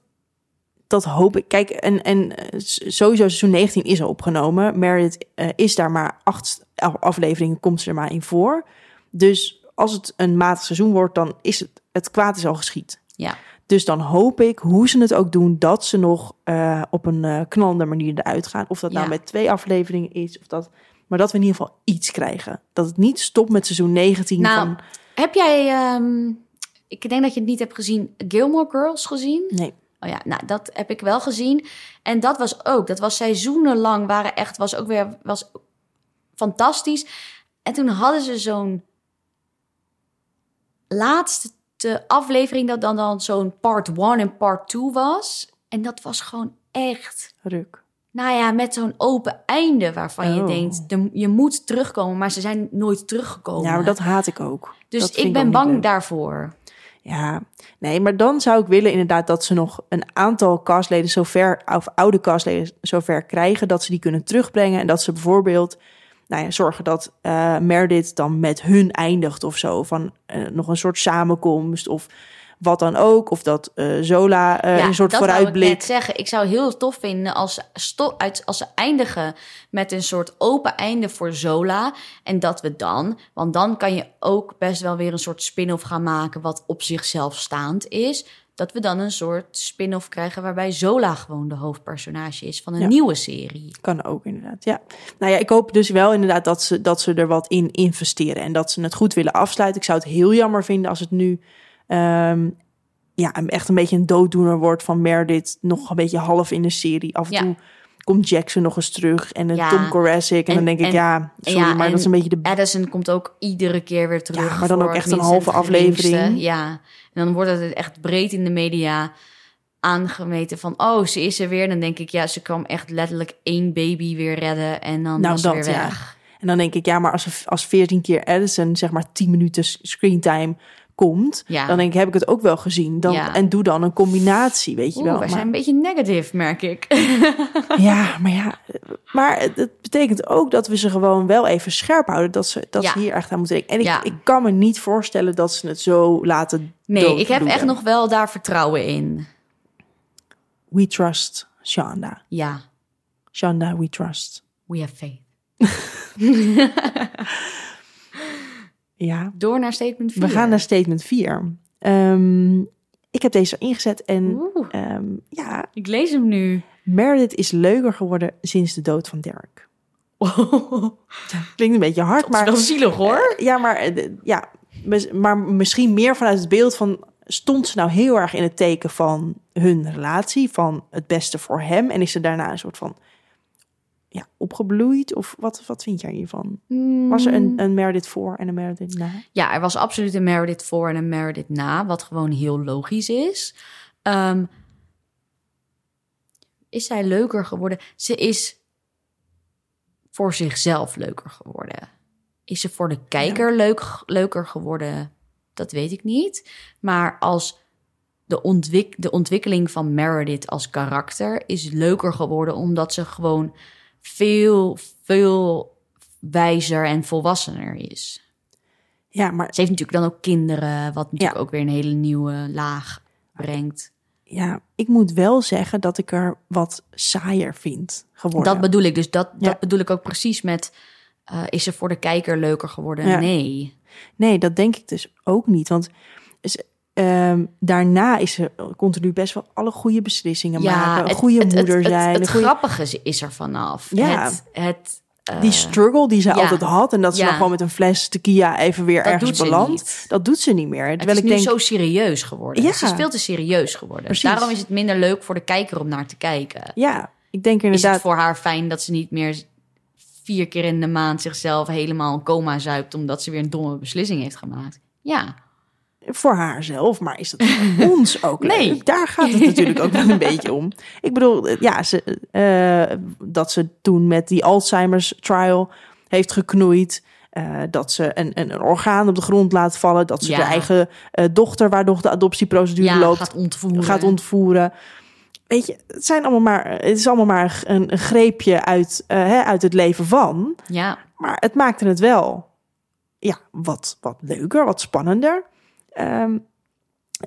Speaker 2: Dat hoop ik. Kijk, en, en eh, s- sowieso seizoen 19 is al opgenomen. Meredith eh, is daar maar acht af- afleveringen, komt ze er maar in voor. Dus als het een matig seizoen wordt, dan is het, het kwaad is al geschied.
Speaker 1: Ja.
Speaker 2: Dus dan hoop ik, hoe ze het ook doen, dat ze nog eh, op een eh, knallende manier eruit gaan. Of dat nou
Speaker 1: Ja.
Speaker 2: met twee afleveringen is, of dat... Maar dat we in ieder geval iets krijgen. Dat het niet stopt met seizoen 19
Speaker 1: Nou,
Speaker 2: van...
Speaker 1: Heb jij, ehm, ik denk dat je het niet hebt gezien, Gilmore Girls gezien?
Speaker 2: Nee,
Speaker 1: Oh ja, nou dat heb ik wel gezien. En dat was ook, dat was seizoenenlang, waren echt, was ook weer, was fantastisch. En toen hadden ze zo'n laatste aflevering, dat dan, dan zo'n part one en part two was. En dat was gewoon echt
Speaker 2: ruk.
Speaker 1: Nou ja, met zo'n open einde waarvan je
Speaker 2: Oh.
Speaker 1: denkt, de- je moet terugkomen, maar ze zijn nooit teruggekomen.
Speaker 2: Ja, maar dat haat ik ook.
Speaker 1: oh dus
Speaker 2: dat vind
Speaker 1: ik
Speaker 2: ook
Speaker 1: ben
Speaker 2: niet
Speaker 1: bang
Speaker 2: leuk.
Speaker 1: daarvoor.
Speaker 2: Ja, nee, maar dan zou ik willen inderdaad dat ze nog een aantal castleden zover, of oude castleden zover krijgen, dat ze die kunnen terugbrengen. En dat ze bijvoorbeeld nou ja, zorgen dat eh Meredith dan met hun eindigt of zo. Van eh, nog een soort samenkomst of wat dan ook. Of dat eh, Zola eh,
Speaker 1: ja,
Speaker 2: een soort
Speaker 1: dat Wou ik net
Speaker 2: vooruitblik.
Speaker 1: zeggen. Ik zou heel tof vinden als ze, sto- uit, als ze eindigen met een soort open einde voor Zola. En dat we dan, want dan kan je ook best wel weer een soort spin-off gaan maken wat op zichzelf staand is. Dat we dan een soort spin-off krijgen waarbij Zola gewoon de hoofdpersonage is van een
Speaker 2: Ja.
Speaker 1: nieuwe serie.
Speaker 2: Kan ook inderdaad, ja. Nou ja, ik hoop dus wel inderdaad dat ze, dat ze er wat in investeren en dat ze het goed willen afsluiten. Ik zou het heel jammer vinden als het nu ehm, ja, een- echt een beetje een dooddoener wordt van Meredith. Nog een beetje half in de serie. Af en
Speaker 1: Ja.
Speaker 2: toe komt Jackson nog eens terug en een
Speaker 1: Ja.
Speaker 2: Tom Koracic. En,
Speaker 1: En-
Speaker 2: dan denk ik,
Speaker 1: en-
Speaker 2: ja, sorry,
Speaker 1: ja,
Speaker 2: maar
Speaker 1: en-
Speaker 2: dat is een beetje de...
Speaker 1: Addison komt ook iedere keer weer terug.
Speaker 2: Ja, maar dan
Speaker 1: voor
Speaker 2: ook echt
Speaker 1: het
Speaker 2: een
Speaker 1: minst en
Speaker 2: halve
Speaker 1: het geringste.
Speaker 2: aflevering.
Speaker 1: Ja, en dan wordt het echt breed in de media aangemeten van... oh, ze is er weer. Dan denk ik, ja, ze kwam echt letterlijk één baby weer redden... en dan
Speaker 2: Nou,
Speaker 1: was ze
Speaker 2: dat,
Speaker 1: weer
Speaker 2: ja.
Speaker 1: weg.
Speaker 2: En dan denk ik, ja, maar als, als 14 keer Addison, zeg maar 10 minuten s- screentime komt,
Speaker 1: Ja.
Speaker 2: dan denk ik, heb ik het ook wel gezien. Dan,
Speaker 1: Ja.
Speaker 2: En doe dan een combinatie, weet je
Speaker 1: Oeh,
Speaker 2: wel.
Speaker 1: wij
Speaker 2: Maar-
Speaker 1: zijn een beetje negative, merk ik. [laughs]
Speaker 2: [laughs] Ja, maar ja. Maar het- het betekent ook dat we ze gewoon wel even scherp houden. Dat ze, dat
Speaker 1: Ja.
Speaker 2: ze hier echt aan moeten denken. En ik,
Speaker 1: Ja.
Speaker 2: ik kan me niet voorstellen dat ze het zo laten
Speaker 1: Nee, ik heb echt
Speaker 2: doodbloeden.
Speaker 1: nog wel daar vertrouwen in.
Speaker 2: We trust Shanda.
Speaker 1: Ja,
Speaker 2: Shanda, we trust.
Speaker 1: we have faith.
Speaker 2: Ja.
Speaker 1: Door naar statement 4.
Speaker 2: We gaan naar statement 4. ik heb deze ingezet en
Speaker 1: Oeh,
Speaker 2: ehm, ja,
Speaker 1: ik lees hem nu. [laughs]
Speaker 2: Meredith is leuker geworden sinds de dood van Derek. Klinkt een beetje hard,
Speaker 1: maar,
Speaker 2: maar
Speaker 1: wel zielig hoor.
Speaker 2: Ja, maar, eh, de- ja, mis- maar misschien meer vanuit het beeld van... stond ze nou heel erg in het teken van hun relatie... van het beste voor hem en is ze daarna een soort van... Ja, opgebloeid? Of wat, wat vind jij hiervan? Was er
Speaker 1: Mm.
Speaker 2: een, een Meredith voor en een Meredith na?
Speaker 1: Ja, er was absoluut een Meredith voor en een Meredith na, wat gewoon heel logisch is. Ehm, is zij leuker geworden? Ze is voor zichzelf leuker geworden. Is ze voor de kijker leuk, leuker geworden? Dat weet ik niet. Maar als de, ontwik de ontwikkeling van Meredith als karakter is leuker geworden, omdat ze gewoon veel, veel wijzer en volwassener is.
Speaker 2: Ja, maar,
Speaker 1: Ze heeft natuurlijk dan ook kinderen, wat natuurlijk ook weer een hele nieuwe laag brengt.
Speaker 2: ja, ik moet wel zeggen dat ik er wat saaier vind geworden.
Speaker 1: Dat bedoel ik. Dus dat,
Speaker 2: Ja.
Speaker 1: dat bedoel ik ook precies met... eh, is ze voor de kijker leuker geworden?
Speaker 2: Ja.
Speaker 1: Nee.
Speaker 2: Nee, dat denk ik dus ook niet. Want ze- ehm, daarna is ze continu best wel alle goede beslissingen maken. Een
Speaker 1: het-
Speaker 2: goede
Speaker 1: het- het-
Speaker 2: moeder
Speaker 1: het-
Speaker 2: zijn.
Speaker 1: Het,
Speaker 2: een goede...
Speaker 1: grappige is- is er vanaf.
Speaker 2: Ja.
Speaker 1: Het, het, eh,
Speaker 2: Die struggle die ze
Speaker 1: ja.
Speaker 2: altijd had. En dat ze
Speaker 1: Ja.
Speaker 2: dan gewoon met een fles tequila even weer
Speaker 1: dat
Speaker 2: ergens
Speaker 1: doet ze
Speaker 2: belandt.
Speaker 1: niet.
Speaker 2: Dat doet ze niet meer.
Speaker 1: Het
Speaker 2: Terwijl
Speaker 1: is
Speaker 2: ik
Speaker 1: nu
Speaker 2: denk,
Speaker 1: zo serieus geworden.
Speaker 2: Ja.
Speaker 1: Ze is veel te serieus geworden.
Speaker 2: Precies.
Speaker 1: Daarom is het minder leuk voor de kijker om naar te kijken.
Speaker 2: ja, ik denk
Speaker 1: Is het
Speaker 2: inderdaad.
Speaker 1: voor haar fijn dat ze niet meer vier keer in de maand zichzelf helemaal een coma zuipt... omdat ze weer een domme beslissing heeft gemaakt? Ja.
Speaker 2: voor haarzelf, maar is
Speaker 1: [laughs]
Speaker 2: dat voor ons ook leuk?
Speaker 1: Nee.
Speaker 2: Daar gaat het natuurlijk ook wel een beetje om. Ik bedoel, eh, ja, ze, eh, dat ze toen met die Alzheimer's trial heeft geknoeid. eh, dat ze een, een, een orgaan op de grond laat vallen. Dat ze
Speaker 1: Ja.
Speaker 2: de eigen eh, dochter, waar nog de adoptieprocedure
Speaker 1: ja,
Speaker 2: loopt,
Speaker 1: gaat ontvoeren.
Speaker 2: gaat ontvoeren. Weet je, het, zijn allemaal maar, het is allemaal maar een, een greepje uit, eh, hè, uit het leven van.
Speaker 1: Ja,
Speaker 2: Maar het maakte het wel ja, wat, wat leuker, wat spannender. Ehm,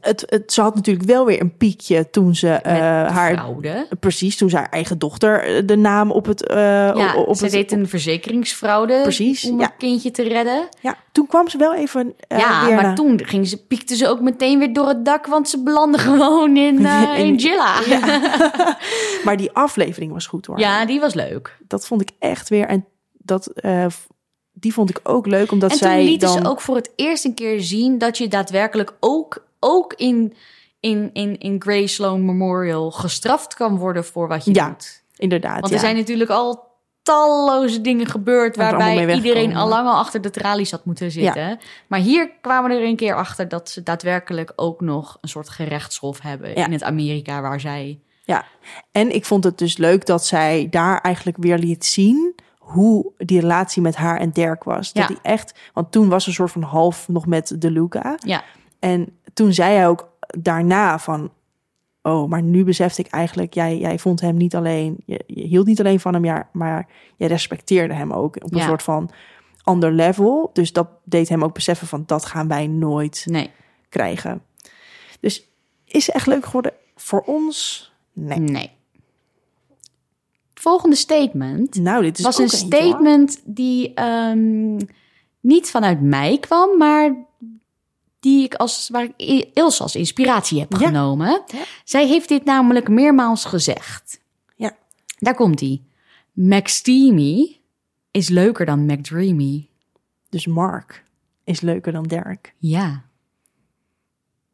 Speaker 2: het, het, ze had natuurlijk wel weer een piekje toen ze eh, haar.
Speaker 1: fraude.
Speaker 2: Precies, toen ze haar eigen dochter eh, de naam op het. eh,
Speaker 1: Ja,
Speaker 2: op, op
Speaker 1: ze
Speaker 2: het-
Speaker 1: deed een verzekeringsfraude
Speaker 2: Precies,
Speaker 1: om
Speaker 2: ja.
Speaker 1: een kindje te redden.
Speaker 2: ja, toen kwam ze wel even. eh,
Speaker 1: ja,
Speaker 2: weer
Speaker 1: maar
Speaker 2: naar-
Speaker 1: toen ging ze, piekte ze ook meteen weer door het dak, want ze belandde [laughs] gewoon in, eh, in
Speaker 2: [laughs] In-
Speaker 1: Gilla. Ja. [laughs]
Speaker 2: maar die aflevering was goed hoor.
Speaker 1: die was leuk.
Speaker 2: Dat vond ik echt weer. En dat, eh, die vond ik ook leuk, omdat
Speaker 1: en toen
Speaker 2: zij.
Speaker 1: lieten
Speaker 2: dan,
Speaker 1: ze ook voor het eerst een keer zien dat je daadwerkelijk ook, ook in, in, in, in Gray Sloan Memorial gestraft kan worden voor wat je
Speaker 2: Ja,
Speaker 1: doet.
Speaker 2: Inderdaad.
Speaker 1: Want
Speaker 2: ja.
Speaker 1: er zijn natuurlijk al talloze dingen gebeurd
Speaker 2: Waar we allemaal
Speaker 1: waarbij
Speaker 2: mee
Speaker 1: iedereen al
Speaker 2: wegkomen.
Speaker 1: lang al achter de tralies had moeten zitten. Maar hier kwamen we er een keer achter dat ze daadwerkelijk ook nog een soort gerechtshof hebben
Speaker 2: Ja.
Speaker 1: in het Amerika waar zij.
Speaker 2: Ja, en ik vond het dus leuk dat zij daar eigenlijk weer liet zien hoe die relatie met haar en Dirk was. Dat
Speaker 1: Ja.
Speaker 2: die echt, want toen was ze een soort van half nog met de Luca.
Speaker 1: Ja,
Speaker 2: En toen zei hij ook daarna van, oh, maar nu besefte ik eigenlijk, jij, jij vond hem niet alleen, je, je hield niet alleen van hem, ja, maar jij respecteerde hem ook op een
Speaker 1: Ja.
Speaker 2: soort van ander level. Dus dat deed hem ook beseffen van, dat gaan wij nooit
Speaker 1: nee.
Speaker 2: krijgen. Dus is ze echt leuk geworden voor ons? Nee.
Speaker 1: Nee. Het volgende statement
Speaker 2: Nou, dit is
Speaker 1: was
Speaker 2: ook
Speaker 1: een
Speaker 2: eentje, hoor.
Speaker 1: statement die ehm, niet vanuit mij kwam, maar die ik als, waar ik I- Ilse als inspiratie heb
Speaker 2: Ja.
Speaker 1: genomen.
Speaker 2: Ja.
Speaker 1: Zij heeft dit namelijk meermaals gezegd.
Speaker 2: Ja.
Speaker 1: Daar komt hij. McSteamy is leuker dan McDreamy.
Speaker 2: Dus Mark is leuker dan Derek.
Speaker 1: Ja.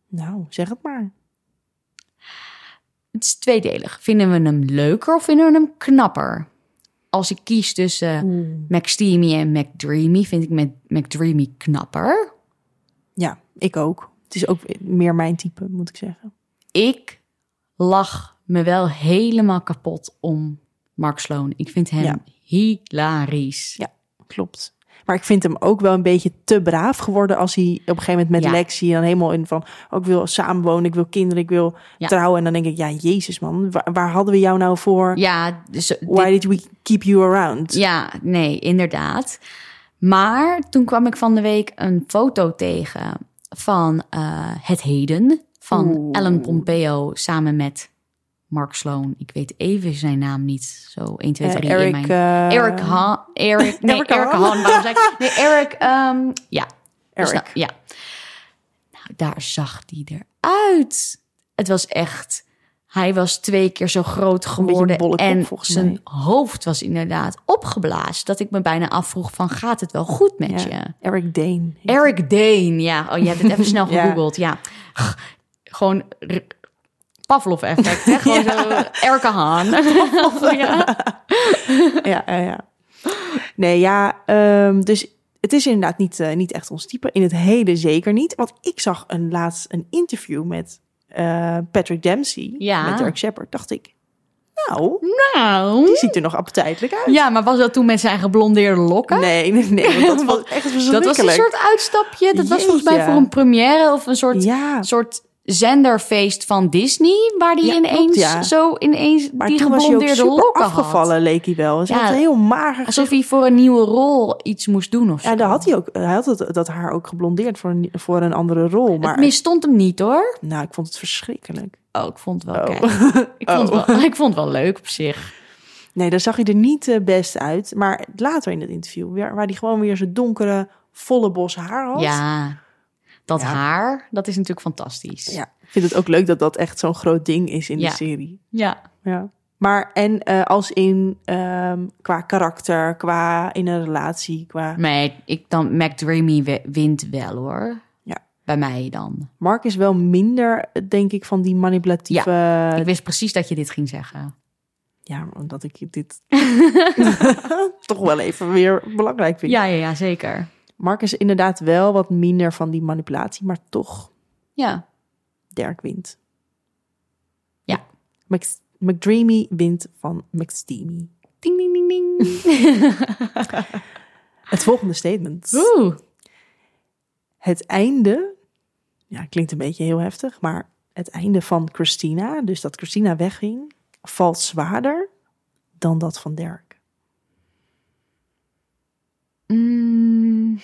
Speaker 2: Nou, zeg het maar.
Speaker 1: Het is tweedelig. Vinden we hem leuker of vinden we hem knapper? Als ik kies tussen McSteamy en McDreamy, vind ik Mac- McDreamy knapper.
Speaker 2: Ja, ik ook. Het is ook meer mijn type, moet ik zeggen.
Speaker 1: ik lach me wel helemaal kapot om Mark Sloan. Ik vind hem
Speaker 2: Ja.
Speaker 1: hilarisch.
Speaker 2: Ja, klopt. Maar ik vind hem ook wel een beetje te braaf geworden als hij op een gegeven moment met
Speaker 1: Ja.
Speaker 2: Lexi dan helemaal in van, oh, ik wil samenwonen, ik wil kinderen, ik wil
Speaker 1: Ja.
Speaker 2: trouwen. En dan denk ik, ja, jezus man, waar, waar hadden we jou nou voor?
Speaker 1: Ja, dus dit-
Speaker 2: Why did we keep you around?
Speaker 1: Ja, nee, inderdaad. Maar toen kwam ik van de week een foto tegen van eh, Het Heden. Van
Speaker 2: Oeh.
Speaker 1: Ellen Pompeo samen met Mark Sloan. Ik weet even zijn naam niet zo 1, 2,
Speaker 2: Eh,
Speaker 1: 3 in
Speaker 2: Eric,
Speaker 1: mijn...
Speaker 2: eh,
Speaker 1: Eric Han...
Speaker 2: [laughs]
Speaker 1: Eric, nee,
Speaker 2: Eric
Speaker 1: Eric,
Speaker 2: Han.
Speaker 1: Han. waarom zei ik- Nee, Eric... ehm, ja, dus
Speaker 2: Eric.
Speaker 1: nou- ja. Nou, daar zag hij eruit. Het was echt... Hij was twee keer zo groot
Speaker 2: beetje
Speaker 1: geworden.
Speaker 2: bolle kop,
Speaker 1: en
Speaker 2: volgens
Speaker 1: zijn
Speaker 2: mij.
Speaker 1: hoofd was inderdaad opgeblazen. Dat ik me bijna afvroeg van, gaat het wel goed met
Speaker 2: Ja.
Speaker 1: je?
Speaker 2: Eric Dane.
Speaker 1: Eric Dane, ja. Oh, je hebt het even snel
Speaker 2: [laughs] Ja.
Speaker 1: gegoogeld, ja. Gewoon r- Pavlov-effect, hè?
Speaker 2: [laughs]
Speaker 1: Gewoon zo Erke Haan. [laughs] ja.
Speaker 2: ja, ja, ja. Nee, ja, ehm, dus het is inderdaad niet, eh, niet echt ons type. In het hele zeker niet. Want ik zag een, laatst een interview met eh, Patrick Dempsey,
Speaker 1: Ja.
Speaker 2: met Dirk Shepard. Dacht ik, nou,
Speaker 1: Nou.
Speaker 2: die ziet er nog appetijtelijk uit.
Speaker 1: Ja, maar was dat toen met zijn geblondeerde lokken?
Speaker 2: Nee, nee, nee, want
Speaker 1: [laughs]
Speaker 2: dat was echt
Speaker 1: Dat was een
Speaker 2: verschrikkelijk.
Speaker 1: soort uitstapje. Dat was volgens mij
Speaker 2: Jeetje.
Speaker 1: voor een première of een soort,
Speaker 2: Ja,
Speaker 1: soort zenderfeest van Disney. Waar die
Speaker 2: Ja, klopt,
Speaker 1: ineens
Speaker 2: ja.
Speaker 1: zo ineens
Speaker 2: maar
Speaker 1: die
Speaker 2: toen was hij ook
Speaker 1: geblondeerde
Speaker 2: super
Speaker 1: lokken
Speaker 2: afgevallen,
Speaker 1: had.
Speaker 2: leek hij wel. Ze
Speaker 1: Ja.
Speaker 2: had heel mager
Speaker 1: Alsof hij voor een nieuwe rol iets moest doen of zo.
Speaker 2: Ja, daar had hij ook. Hij had het, dat haar ook geblondeerd voor een, voor een andere rol.
Speaker 1: Het
Speaker 2: Maar
Speaker 1: misstond hem niet hoor.
Speaker 2: nou, ik vond het verschrikkelijk.
Speaker 1: Oh, ik vond het wel,
Speaker 2: Oh. [laughs]
Speaker 1: kijk. ik, vond het wel ik vond het wel leuk op zich.
Speaker 2: Nee, daar zag hij er niet eh, best uit. Maar later in het interview, waar waar hij gewoon weer zijn donkere, volle bos haar had.
Speaker 1: Ja, dat
Speaker 2: Ja.
Speaker 1: haar, dat is natuurlijk fantastisch. Ja.
Speaker 2: Ja, Ik vind het ook leuk dat dat echt zo'n groot ding is in
Speaker 1: Ja.
Speaker 2: de serie. Ja. Maar en eh, als in ehm, qua karakter, qua in een relatie, qua...
Speaker 1: Nee, ik dan McDreamy we- wint wel hoor.
Speaker 2: Ja.
Speaker 1: Bij mij dan.
Speaker 2: Mark is wel minder, denk ik, van die manipulatieve... Ja,
Speaker 1: Ik wist precies dat je dit ging zeggen.
Speaker 2: omdat ik dit [laughs] toch wel even weer belangrijk vind.
Speaker 1: Ja, ja, ja, zeker.
Speaker 2: Mark is inderdaad wel wat minder van die manipulatie, maar toch
Speaker 1: Ja.
Speaker 2: Dirk wint.
Speaker 1: Ja.
Speaker 2: Mc- McDreamy wint van McSteamy.
Speaker 1: Ding, ding, ding, [laughs] ding.
Speaker 2: Het volgende statement.
Speaker 1: Oeh.
Speaker 2: Het einde, ja, klinkt een beetje heel heftig, maar het einde van Christina, dus dat Christina wegging, valt zwaarder dan dat van Dirk.
Speaker 1: Mm,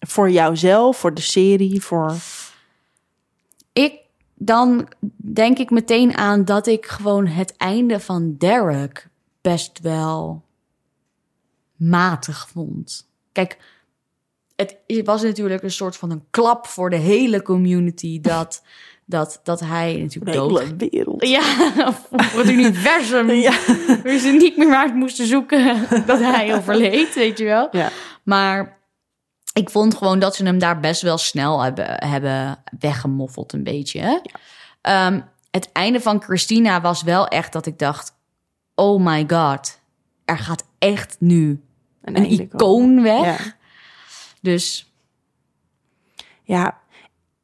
Speaker 2: Voor jouzelf, voor de serie, voor...
Speaker 1: ik, dan denk ik meteen aan dat ik gewoon het einde van Derek best wel matig vond. Kijk, het was natuurlijk een soort van een klap voor de hele community dat, dat, dat hij
Speaker 2: de
Speaker 1: natuurlijk dood
Speaker 2: hele wereld.
Speaker 1: Ja, voor het universum.
Speaker 2: Ja.
Speaker 1: Waar ze niet meer uit moesten zoeken dat hij overleed, weet je wel.
Speaker 2: Ja.
Speaker 1: Maar ik vond gewoon dat ze hem daar best wel snel hebben, hebben weggemoffeld een beetje. Ehm, het einde van Christina was wel echt dat ik dacht... oh my god, er gaat echt nu
Speaker 2: Een,
Speaker 1: een
Speaker 2: einde komen.
Speaker 1: icoon weg.
Speaker 2: Ja.
Speaker 1: Dus
Speaker 2: Ja,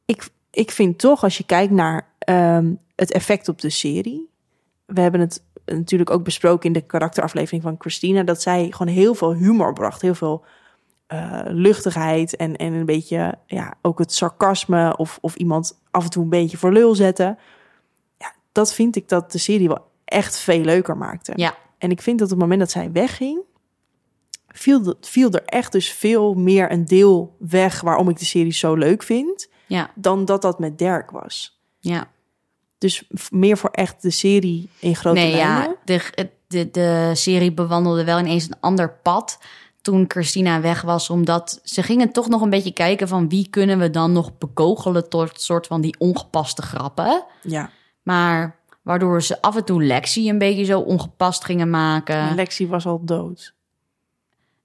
Speaker 2: ik, ik vind toch als je kijkt naar ehm, het effect op de serie. We hebben het natuurlijk ook besproken in de karakteraflevering van Christina. Dat zij gewoon heel veel humor bracht. Heel veel eh, luchtigheid en, en een beetje ja, ook het sarcasme. Of, of iemand af en toe een beetje voor lul zetten. Ja, dat vind ik dat de serie wel echt veel leuker maakte.
Speaker 1: ja,
Speaker 2: En ik vind dat op het moment dat zij wegging, viel, dat- viel er echt dus veel meer een deel weg waarom ik de serie zo leuk vind,
Speaker 1: ja,
Speaker 2: dan dat dat met Dirk was.
Speaker 1: ja.
Speaker 2: Dus f- meer voor echt de serie in grote
Speaker 1: nee,
Speaker 2: lijnen.
Speaker 1: ja, de, de, de serie bewandelde wel ineens een ander pad toen Christina weg was. Omdat ze gingen toch nog een beetje kijken van wie kunnen we dan nog bekogelen tot soort van die ongepaste grappen.
Speaker 2: Ja.
Speaker 1: Maar waardoor ze af en toe Lexi een beetje zo ongepast gingen
Speaker 2: En
Speaker 1: maken.
Speaker 2: Lexi was al dood.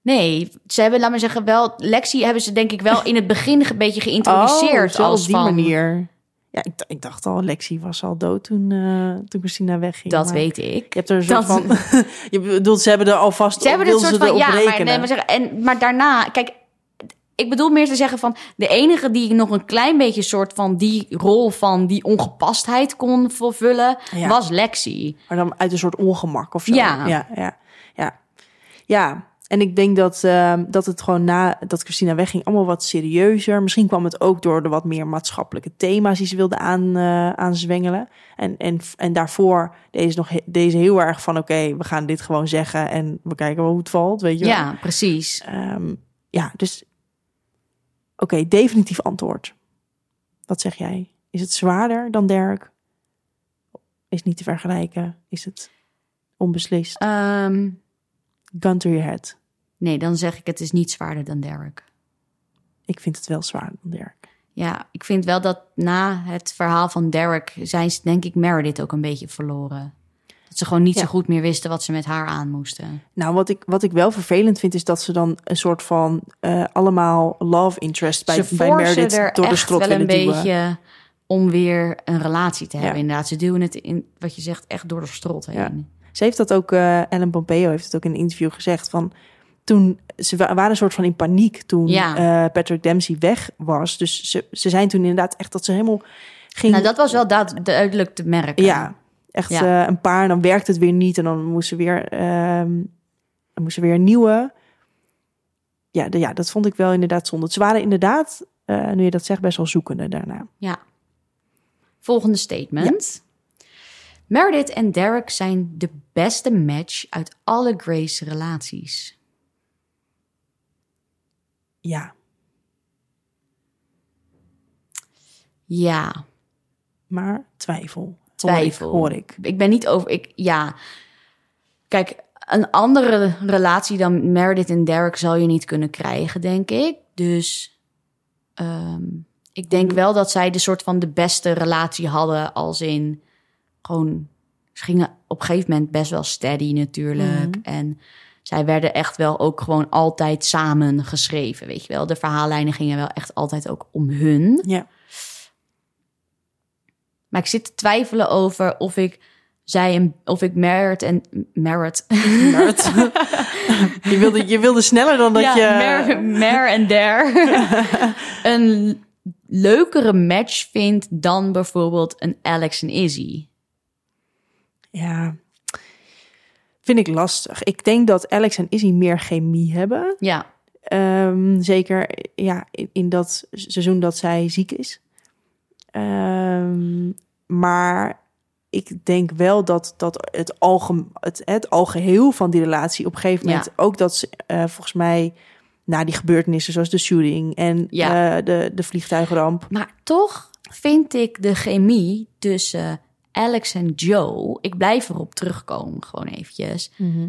Speaker 1: Nee, ze hebben, laat maar zeggen, wel... Lexi hebben ze denk ik wel in het begin een beetje geïntroduceerd.
Speaker 2: Oh, zo
Speaker 1: als
Speaker 2: op die
Speaker 1: van,
Speaker 2: manier. Ja, ik, d- ik dacht al, Lexi was al dood toen, eh, toen Christina wegging.
Speaker 1: Dat
Speaker 2: maar
Speaker 1: weet ik.
Speaker 2: Je hebt er een soort
Speaker 1: Dat-
Speaker 2: van... [laughs] je bedoelt, ze hebben er alvast...
Speaker 1: Ze hebben dit
Speaker 2: wilden
Speaker 1: soort
Speaker 2: ze
Speaker 1: van ja,
Speaker 2: erop
Speaker 1: maar,
Speaker 2: rekenen.
Speaker 1: nee, maar, zeggen, en, maar daarna, kijk, ik bedoel meer te zeggen van de enige die nog een klein beetje soort van die rol van die ongepastheid kon vervullen,
Speaker 2: Ja.
Speaker 1: was Lexi.
Speaker 2: Maar dan uit een soort ongemak of zo.
Speaker 1: Ja.
Speaker 2: Ja, ja, ja. ja. En ik denk dat, ehm, dat het gewoon na dat Christina wegging allemaal wat serieuzer. Misschien kwam het ook door de wat meer maatschappelijke thema's die ze wilde aan, eh, aanzwengelen. En, en, en daarvoor deze, nog, he- deze heel erg van oké, we gaan dit gewoon zeggen en we kijken wel hoe het valt, weet je wel.
Speaker 1: Ja, precies.
Speaker 2: Ehm, ja, dus oké, definitief antwoord. Wat zeg jij? Is het zwaarder dan Dirk? Is niet te vergelijken? Is het onbeslist?
Speaker 1: Ehm,
Speaker 2: Gun to your head.
Speaker 1: nee, dan zeg ik het is niet zwaarder dan Derek.
Speaker 2: Ik vind het wel zwaarder dan Dirk.
Speaker 1: Ja, ik vind wel dat na het verhaal van Derek zijn ze denk ik Meredith ook een beetje verloren. Dat ze gewoon niet
Speaker 2: Ja.
Speaker 1: zo goed meer wisten wat ze met haar aan moesten.
Speaker 2: Nou, wat ik, wat ik wel vervelend vind, is dat ze dan een soort van eh, allemaal love interest bij,
Speaker 1: ze
Speaker 2: bij
Speaker 1: forcen
Speaker 2: Meredith
Speaker 1: er
Speaker 2: door de
Speaker 1: echt
Speaker 2: strot
Speaker 1: wel een
Speaker 2: willen duwen.
Speaker 1: beetje om weer een relatie te hebben.
Speaker 2: Ja.
Speaker 1: Inderdaad, ze duwen het in wat je zegt echt door de strot heen.
Speaker 2: Ja. Ze heeft dat ook, eh, Ellen Pompeo heeft het ook in een interview gezegd. Van toen ze wa- waren een soort van in paniek toen
Speaker 1: Ja.
Speaker 2: eh, Patrick Dempsey weg was. Dus ze, ze zijn toen inderdaad echt dat ze helemaal ging.
Speaker 1: Nou, dat was wel daad- duidelijk te merken.
Speaker 2: Ja, echt
Speaker 1: Ja.
Speaker 2: eh, een paar. En dan werkte het weer niet. En dan moest ze weer, ehm, dan moest ze weer een nieuwe. Ja, de- ja, dat vond ik wel inderdaad zonde. Ze waren inderdaad, eh, nu je dat zegt, best wel zoekende daarna.
Speaker 1: Ja. Volgende statement. Meredith en Derek zijn de beste match uit alle Grace relaties.
Speaker 2: Ja,
Speaker 1: Ja,
Speaker 2: maar twijfel.
Speaker 1: twijfel.
Speaker 2: Hoor ik. Hoor ik.
Speaker 1: Ik ben niet over... Ik, ja. Kijk, een andere relatie dan Meredith en Derek zal je niet kunnen krijgen, denk ik. Dus ehm, ik denk
Speaker 2: Mm.
Speaker 1: wel dat zij de soort van de beste relatie hadden als in gewoon... Ze gingen op een gegeven moment best wel steady
Speaker 2: Mm-hmm.
Speaker 1: natuurlijk. En zij werden echt wel ook gewoon altijd samen geschreven, weet je wel. De verhaallijnen gingen wel echt altijd ook om hun.
Speaker 2: Ja.
Speaker 1: Maar ik zit te twijfelen over of ik zij een, of ik Merit en Merit. [laughs]
Speaker 2: Nerd. je, wilde, je wilde sneller dan dat
Speaker 1: ja,
Speaker 2: je...
Speaker 1: Mer, Mer en
Speaker 2: [laughs]
Speaker 1: Der. een leukere match vind dan bijvoorbeeld een Alex en Izzy.
Speaker 2: Ja, vind ik lastig. Ik denk dat Alex en Izzy meer chemie hebben.
Speaker 1: Ja,
Speaker 2: Ehm, zeker ja, in, in dat seizoen dat zij ziek is. Ehm, maar ik denk wel dat, dat het, algem, het, het algeheel van die relatie op een gegeven moment... ook dat ze eh, volgens mij na die gebeurtenissen zoals de shooting en
Speaker 1: Ja.
Speaker 2: eh, de, de vliegtuigramp...
Speaker 1: maar toch vind ik de chemie tussen eh, Alex en Joe, ik blijf erop terugkomen gewoon eventjes,
Speaker 2: Mhm.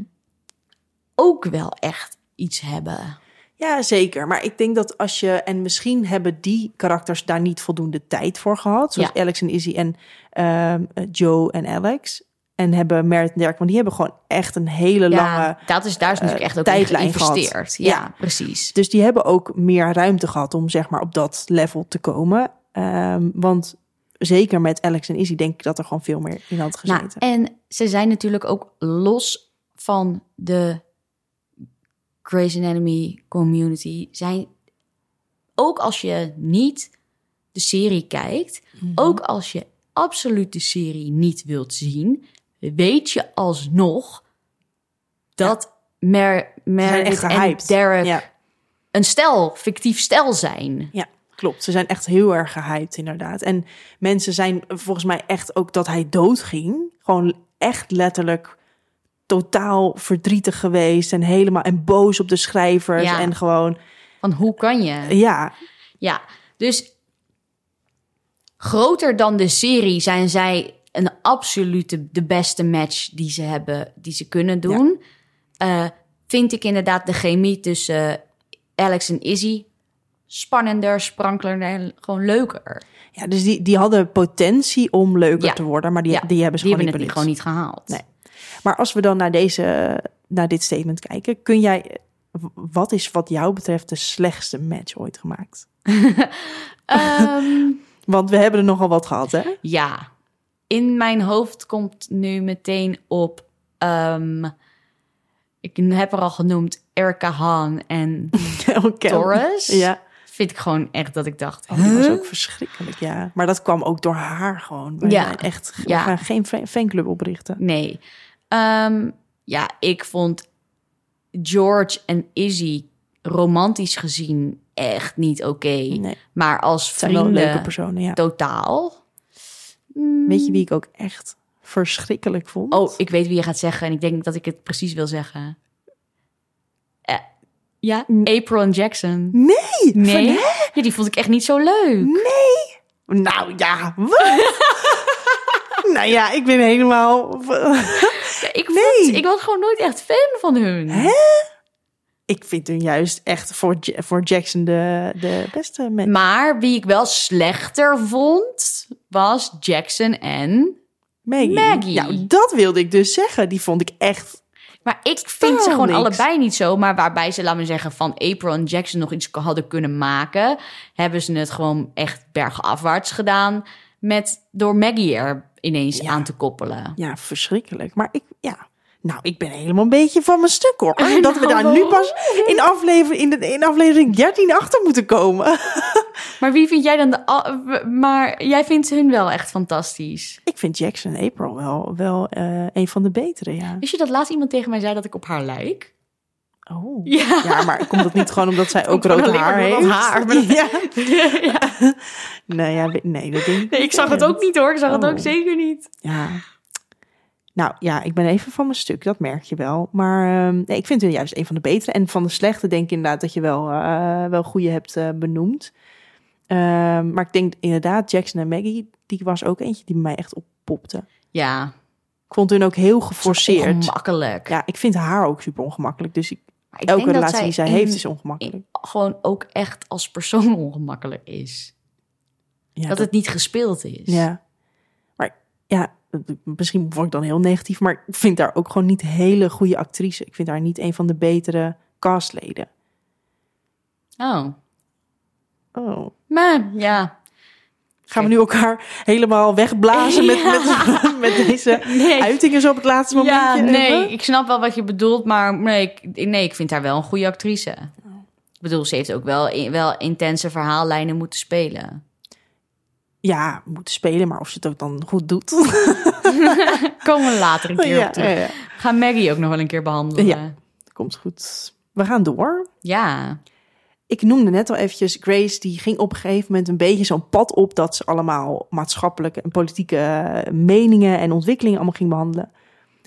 Speaker 1: ook wel echt iets hebben.
Speaker 2: Ja, zeker. Maar ik denk dat als je... En misschien hebben die karakters daar niet voldoende tijd voor gehad. Zoals
Speaker 1: Ja.
Speaker 2: Alex en Izzy en ehm, eh, Joe en Alex. En hebben Merit en Dirk. Want die hebben gewoon echt een hele lange...
Speaker 1: Ja, dat is, daar is natuurlijk
Speaker 2: eh,
Speaker 1: echt ook in
Speaker 2: tijdlijn gehad.
Speaker 1: geïnvesteerd.
Speaker 2: Ja.
Speaker 1: ja, precies.
Speaker 2: Dus die hebben ook meer ruimte gehad om zeg maar op dat level te komen. Ehm, want zeker met Alex en Izzy denk ik dat er gewoon veel meer in had gezeten.
Speaker 1: Nou, en ze zijn natuurlijk ook los van de Grey's Anatomy community. Zijn ook als je niet de serie kijkt,
Speaker 2: Mhm.
Speaker 1: ook als je absoluut de serie niet wilt zien, weet je alsnog dat Mer, Meredith en
Speaker 2: gehyped.
Speaker 1: Derek
Speaker 2: Ja.
Speaker 1: een stel, fictief stel zijn.
Speaker 2: Ja, klopt. Ze zijn echt heel erg gehyped, inderdaad. En mensen zijn volgens mij echt ook dat hij doodging. Gewoon echt letterlijk totaal verdrietig geweest en helemaal en boos op de schrijvers
Speaker 1: Ja.
Speaker 2: en gewoon
Speaker 1: Van hoe kan je?
Speaker 2: ja
Speaker 1: Ja, dus groter dan de serie zijn zij een absolute de beste match die ze hebben, die ze kunnen doen. Eh, vind ik inderdaad de chemie tussen eh, Alex en Izzy spannender, sprankelender en gewoon leuker.
Speaker 2: ja dus die, die hadden potentie om leuker
Speaker 1: Ja.
Speaker 2: te worden maar die,
Speaker 1: Ja,
Speaker 2: die hebben ze
Speaker 1: Die
Speaker 2: gewoon
Speaker 1: hebben het
Speaker 2: niet
Speaker 1: niet,
Speaker 2: benut.
Speaker 1: gewoon niet gehaald.
Speaker 2: Nee. maar als we dan naar deze naar dit statement kijken kun jij wat is wat jou betreft de slechtste match ooit gemaakt [laughs]
Speaker 1: Ehm,
Speaker 2: want we hebben er nogal wat gehad hè [laughs]
Speaker 1: Ja, in mijn hoofd komt nu meteen op. ehm, ik heb er al genoemd Erica Hahn en
Speaker 2: Oké.
Speaker 1: Torres.
Speaker 2: ja
Speaker 1: Vind ik gewoon echt dat ik dacht.
Speaker 2: Oh, die was
Speaker 1: huh?
Speaker 2: ook verschrikkelijk, ja. Maar dat kwam ook door haar gewoon. We
Speaker 1: Ja.
Speaker 2: gaan Echt, we
Speaker 1: Ja.
Speaker 2: gaan geen fan- fanclub oprichten.
Speaker 1: Nee. Ehm, ja, ik vond George en Izzy romantisch gezien echt niet oké.
Speaker 2: Nee,
Speaker 1: Maar als
Speaker 2: het zijn wel leuke
Speaker 1: vrienden
Speaker 2: personen, ja.
Speaker 1: totaal. Mm.
Speaker 2: Weet je wie ik ook echt verschrikkelijk vond?
Speaker 1: Oh, ik weet wie je gaat zeggen en ik denk dat ik het precies wil zeggen. Eh, ja, April en Jackson.
Speaker 2: Nee!
Speaker 1: Nee,
Speaker 2: Van-
Speaker 1: ja, die vond ik echt niet zo leuk.
Speaker 2: Nee! Nou ja,
Speaker 1: [laughs]
Speaker 2: wat? nou ja, ik ben helemaal...
Speaker 1: Ja, Ik,
Speaker 2: Nee.
Speaker 1: vond- ik was gewoon nooit echt fan van hun.
Speaker 2: Hè? [laughs] ik vind hem juist echt voor, Ja- voor Jackson de, de beste man.
Speaker 1: Maar wie ik wel slechter vond, was Jackson en...
Speaker 2: Maggie.
Speaker 1: Maggie.
Speaker 2: Nou, dat wilde ik dus zeggen. Die vond ik echt...
Speaker 1: Maar ik vind ze gewoon
Speaker 2: niks.
Speaker 1: allebei niet zo. Maar waarbij ze, laten we zeggen, van April en Jackson nog iets hadden kunnen maken... hebben ze het gewoon echt bergafwaarts gedaan... Met, door Maggie er ineens aan te koppelen.
Speaker 2: Ja, verschrikkelijk. Maar ik... Ja. Nou, ik ben helemaal een beetje van mijn stuk
Speaker 1: [laughs]
Speaker 2: hoor. Ah, dat we
Speaker 1: Nou,
Speaker 2: daar nu
Speaker 1: waarom?
Speaker 2: pas in aflevering, in, de, in aflevering 13 achter moeten komen. [laughs]
Speaker 1: Maar wie vind jij dan de... al- Maar jij vindt hun wel echt fantastisch.
Speaker 2: ik vind Jackson en April wel, wel eh, een van de betere, ja.
Speaker 1: Wist je dat laatst iemand tegen mij zei dat ik op haar lijk?
Speaker 2: Oh.
Speaker 1: Ja. [laughs]
Speaker 2: Ja, maar komt dat niet gewoon omdat zij ook
Speaker 1: Komt gewoon
Speaker 2: rood
Speaker 1: alleen
Speaker 2: haar
Speaker 1: maar door
Speaker 2: heeft?
Speaker 1: dat [laughs] haar.
Speaker 2: [laughs] Ja.
Speaker 1: Ja.
Speaker 2: Nee, ja, we- nee, dat denk ik.
Speaker 1: Nee, ik
Speaker 2: niet.
Speaker 1: zag het ook niet hoor. Ik zag het
Speaker 2: Oh.
Speaker 1: ook zeker niet.
Speaker 2: Ja. Nou ja, ik ben even van mijn stuk, dat merk je wel. Maar ehm, nee, ik vind het juist een van de betere. En van de slechte denk ik inderdaad dat je wel, eh, wel goede hebt eh, benoemd. Ehm, maar ik denk inderdaad, Jackson en Maggie, die was ook eentje die bij mij echt oppopte.
Speaker 1: Ja,
Speaker 2: Ik vond hun ook heel geforceerd.
Speaker 1: makkelijk.
Speaker 2: Ja, ik vind haar ook super ongemakkelijk. Dus ik,
Speaker 1: Maar ik
Speaker 2: elke
Speaker 1: denk dat
Speaker 2: relatie die zij
Speaker 1: in-
Speaker 2: heeft is ongemakkelijk.
Speaker 1: in- gewoon ook echt als persoon [laughs] ongemakkelijk is.
Speaker 2: Ja,
Speaker 1: dat, het niet gespeeld is.
Speaker 2: Ja. Maar ja, misschien word ik dan heel negatief, maar ik vind daar ook gewoon niet hele goede actrice. Ik vind haar niet een van de betere castleden.
Speaker 1: Oh,
Speaker 2: Oh.
Speaker 1: maar ja.
Speaker 2: Gaan we nu elkaar helemaal wegblazen [laughs] met,
Speaker 1: Ja.
Speaker 2: met, met deze
Speaker 1: Nee.
Speaker 2: uitingen zo op het laatste moment?
Speaker 1: Ja, nee, ik snap wel wat je bedoelt, maar nee, ik, nee, ik vind haar wel een goede actrice. Ik bedoel, ze heeft ook wel, in- wel intense verhaallijnen moeten spelen.
Speaker 2: Ja, moet spelen, maar of ze het ook dan goed doet. [laughs]
Speaker 1: Komen we later een keer
Speaker 2: Oh, ja,
Speaker 1: op terug.
Speaker 2: ja, ja.
Speaker 1: Ga Maggie ook nog wel een keer behandelen.
Speaker 2: Ja. Komt goed. We gaan door.
Speaker 1: ja.
Speaker 2: Ik noemde net al eventjes, Grace die ging op een gegeven moment een beetje zo'n pad op dat ze allemaal maatschappelijke en politieke eh, meningen en ontwikkelingen allemaal ging behandelen.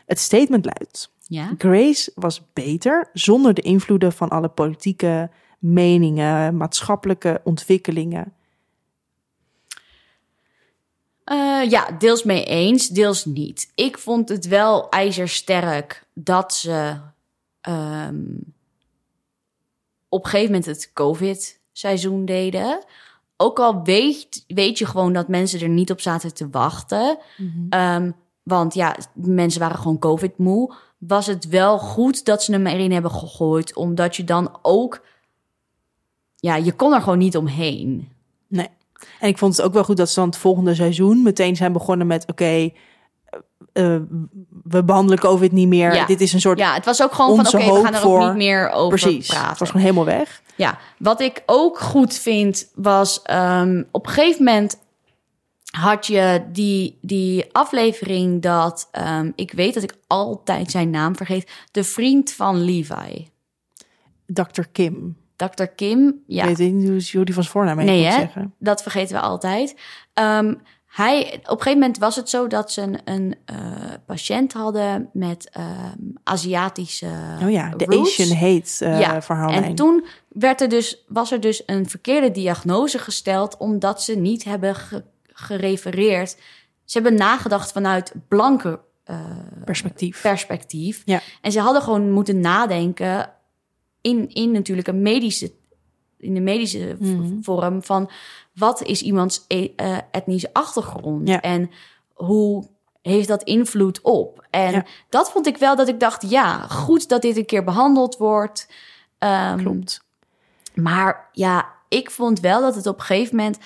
Speaker 2: Het statement luidt:
Speaker 1: ja.
Speaker 2: Grace was beter zonder de invloeden van alle politieke meningen, maatschappelijke ontwikkelingen.
Speaker 1: Eh, ja, deels mee eens, deels niet. Ik vond het wel ijzersterk dat ze ehm, op een gegeven moment het COVID-seizoen deden. Ook al weet, weet je gewoon dat mensen er niet op zaten te wachten. Ehm, want ja, mensen waren gewoon COVID-moe. Was het wel goed dat ze hem erin hebben gegooid, omdat je dan ook. Ja, je kon er gewoon niet omheen.
Speaker 2: Nee. En ik vond het ook wel goed dat ze dan het volgende seizoen meteen zijn begonnen met: oké, eh, eh, we behandelen COVID niet meer.
Speaker 1: Ja.
Speaker 2: Dit is een soort.
Speaker 1: Ja, het was ook gewoon van
Speaker 2: Onze
Speaker 1: oké, we gaan
Speaker 2: hoop
Speaker 1: er
Speaker 2: voor-
Speaker 1: ook niet meer over
Speaker 2: precies.
Speaker 1: praten.
Speaker 2: Het was gewoon helemaal weg.
Speaker 1: Ja, wat ik ook goed vind was ehm, op een gegeven moment had je die, die aflevering dat ehm, ik weet dat ik altijd zijn naam vergeet, de vriend van Levi,
Speaker 2: Dr. Kim.
Speaker 1: Dr. Kim. Ja,
Speaker 2: Ik weet niet hoe ze Jordi van zijn voornaam heet,
Speaker 1: Nee,
Speaker 2: moet ik
Speaker 1: hè?
Speaker 2: zeggen.
Speaker 1: dat vergeten we altijd. Ehm, hij, op een gegeven moment was het zo dat ze een, een eh, patiënt hadden met ehm, Aziatische.
Speaker 2: Oh ja, de
Speaker 1: roots.
Speaker 2: Asian hate eh
Speaker 1: Ja,
Speaker 2: verhaallijn.
Speaker 1: En toen werd er dus, was er dus een verkeerde diagnose gesteld, omdat ze niet hebben ge- gerefereerd. Ze hebben nagedacht vanuit blanke eh,
Speaker 2: Perspectief.
Speaker 1: perspectief.
Speaker 2: Ja.
Speaker 1: En ze hadden gewoon moeten nadenken in, in natuurlijk een medische, in de medische v-
Speaker 2: Mhm.
Speaker 1: vorm van wat is iemands e- eh, etnische achtergrond
Speaker 2: Ja.
Speaker 1: en hoe heeft dat invloed op? En
Speaker 2: Ja.
Speaker 1: dat vond ik wel dat ik dacht, ja, goed dat dit een keer behandeld wordt. Ehm,
Speaker 2: Klopt.
Speaker 1: maar ja, ik vond wel dat het op een gegeven moment.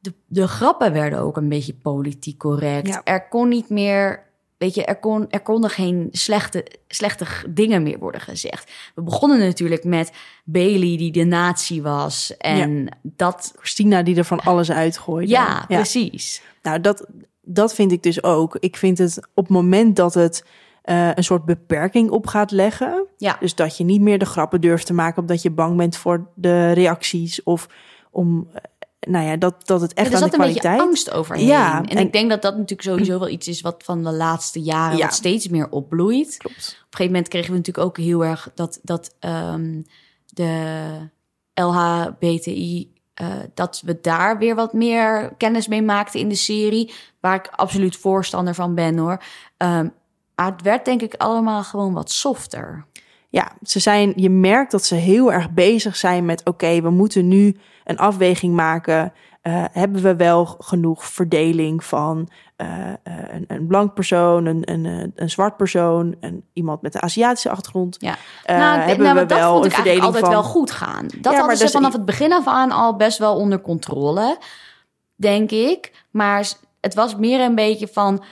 Speaker 1: De, de grappen werden ook een beetje politiek correct.
Speaker 2: Ja.
Speaker 1: Er kon niet meer. Weet je, er, kon, er konden geen slechte, slechte g- dingen meer worden gezegd. We begonnen natuurlijk met Bailey, die de nazi was. En dat.
Speaker 2: Christina die er van alles uitgooit.
Speaker 1: Ja, precies.
Speaker 2: Nou, dat, dat vind ik dus ook. Ik vind het op het moment dat het eh, een soort beperking op gaat leggen.
Speaker 1: Ja.
Speaker 2: Dus dat je niet meer de grappen durft te maken omdat je bang bent voor de reacties of om, eh, nou ja, dat, dat het echt
Speaker 1: er
Speaker 2: aan de
Speaker 1: zat een beetje
Speaker 2: kwaliteit.
Speaker 1: angst overheen.
Speaker 2: Ja,
Speaker 1: en,
Speaker 2: en-
Speaker 1: ik denk dat dat natuurlijk sowieso wel iets is wat van de laatste jaren
Speaker 2: Ja.
Speaker 1: wat steeds meer opbloeit.
Speaker 2: Klopt.
Speaker 1: op een gegeven moment kregen we natuurlijk ook heel erg dat, dat ehm, de LHBTI, eh, dat we daar weer wat meer kennis mee maakten in de serie. Waar ik absoluut voorstander van ben hoor. Ehm, maar het werd denk ik allemaal gewoon wat softer.
Speaker 2: Ja, ze zijn, je merkt dat ze heel erg bezig zijn met: oké, we moeten nu een afweging maken. Eh, hebben we wel genoeg verdeling van eh, eh, een, een blank persoon, een, een, eh, een zwart persoon, een, iemand met een Aziatische achtergrond?
Speaker 1: Ja.
Speaker 2: Eh,
Speaker 1: ik-
Speaker 2: hebben we
Speaker 1: maar nou, dat
Speaker 2: wel
Speaker 1: vond
Speaker 2: een
Speaker 1: ik eigenlijk
Speaker 2: verdeling
Speaker 1: altijd
Speaker 2: van...
Speaker 1: wel goed gaan. Dat
Speaker 2: maar
Speaker 1: hadden ze
Speaker 2: dus-
Speaker 1: vanaf het begin af aan al best wel onder controle, denk ik. Maar s- het was meer een beetje van,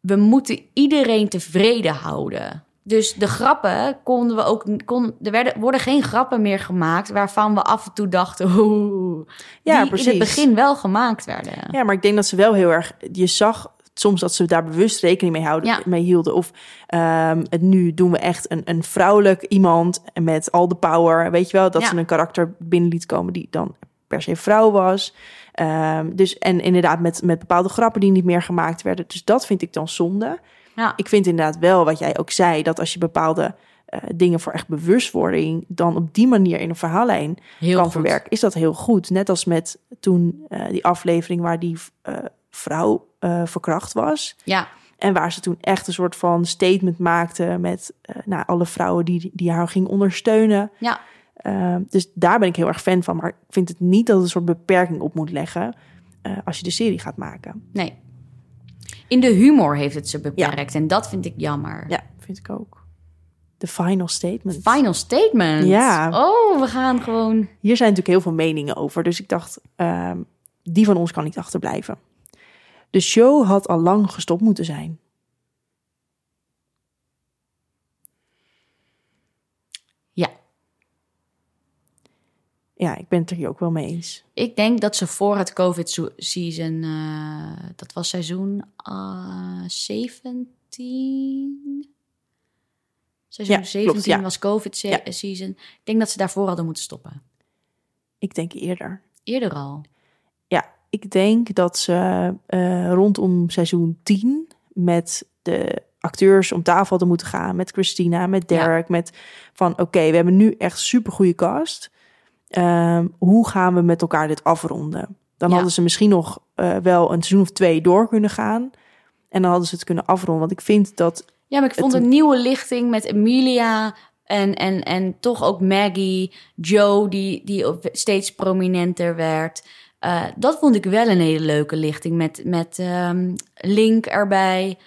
Speaker 1: we moeten iedereen tevreden houden. Dus de grappen konden we ook... Kon, er werden, worden geen grappen meer gemaakt waarvan we af en toe dachten... [laughs] Oeh,
Speaker 2: Ja,
Speaker 1: die in
Speaker 2: precies.
Speaker 1: het begin wel gemaakt werden.
Speaker 2: Ja, maar ik denk dat ze wel heel erg. Je zag soms dat ze daar bewust rekening mee, houden,
Speaker 1: Ja.
Speaker 2: mee hielden. Of ehm, het nu doen we echt een, een vrouwelijk iemand met al de power. Weet je wel, dat
Speaker 1: Ja.
Speaker 2: ze een karakter binnen liet komen die dan per se vrouw was. Ehm, dus en inderdaad met, met bepaalde grappen die niet meer gemaakt werden. Dus dat vind ik dan zonde.
Speaker 1: Ja.
Speaker 2: Ik vind inderdaad wel wat jij ook zei, dat als je bepaalde eh, dingen voor echt bewustwording dan op die manier in een verhaallijn
Speaker 1: Heel
Speaker 2: kan
Speaker 1: goed.
Speaker 2: verwerken, is dat heel goed. Net als met toen eh, die aflevering waar die eh, vrouw eh, verkracht was.
Speaker 1: Ja,
Speaker 2: En waar ze toen echt een soort van statement maakte met eh, nou, alle vrouwen die, die haar ging ondersteunen.
Speaker 1: ja.
Speaker 2: Eh, dus daar ben ik heel erg fan van. Maar ik vind het niet dat het een soort beperking op moet leggen eh, als je de serie gaat maken.
Speaker 1: nee. In de humor heeft het ze beperkt en dat vind ik jammer.
Speaker 2: Ja, vind ik ook. De final statement.
Speaker 1: Final statement.
Speaker 2: Ja.
Speaker 1: Oh, we gaan gewoon.
Speaker 2: Hier zijn natuurlijk heel veel meningen over. Dus ik dacht, ehm, die van ons kan niet achterblijven. De show had al lang gestopt moeten zijn.
Speaker 1: Ja.
Speaker 2: Ja, ik ben het er hier ook wel mee eens.
Speaker 1: Ik denk dat ze voor het COVID-season, eh, dat was seizoen eh, 17. Seizoen
Speaker 2: Ja, klopt,
Speaker 1: 17
Speaker 2: ja.
Speaker 1: was COVID-season. Ik denk dat ze daarvoor hadden moeten stoppen.
Speaker 2: Ik denk eerder.
Speaker 1: Eerder al.
Speaker 2: Ja, ik denk dat ze eh, rondom seizoen 10 met de acteurs om tafel hadden moeten gaan. Met Christina, met
Speaker 1: Ja.
Speaker 2: Derek. Met van oké, we hebben nu echt super goede cast. Ehm, hoe gaan we met elkaar dit afronden? Dan
Speaker 1: Ja.
Speaker 2: hadden ze misschien nog eh, wel een seizoen of twee door kunnen gaan. En dan hadden ze het kunnen afronden. Want ik vind dat
Speaker 1: Ja, maar ik vond
Speaker 2: Het-
Speaker 1: een nieuwe lichting met Emilia en, en, en toch ook Maggie, Joe, die, die op- steeds prominenter werd. Eh, dat vond ik wel een hele leuke lichting met, met ehm, Link erbij.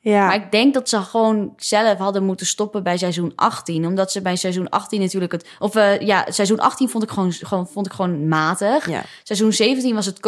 Speaker 2: ja,
Speaker 1: Maar ik denk dat ze gewoon zelf hadden moeten stoppen bij seizoen 18. Omdat ze bij seizoen 18 natuurlijk het. Of eh, ja, seizoen 18 vond ik gewoon, gewoon, vond ik gewoon matig.
Speaker 2: ja.
Speaker 1: Seizoen 17 was het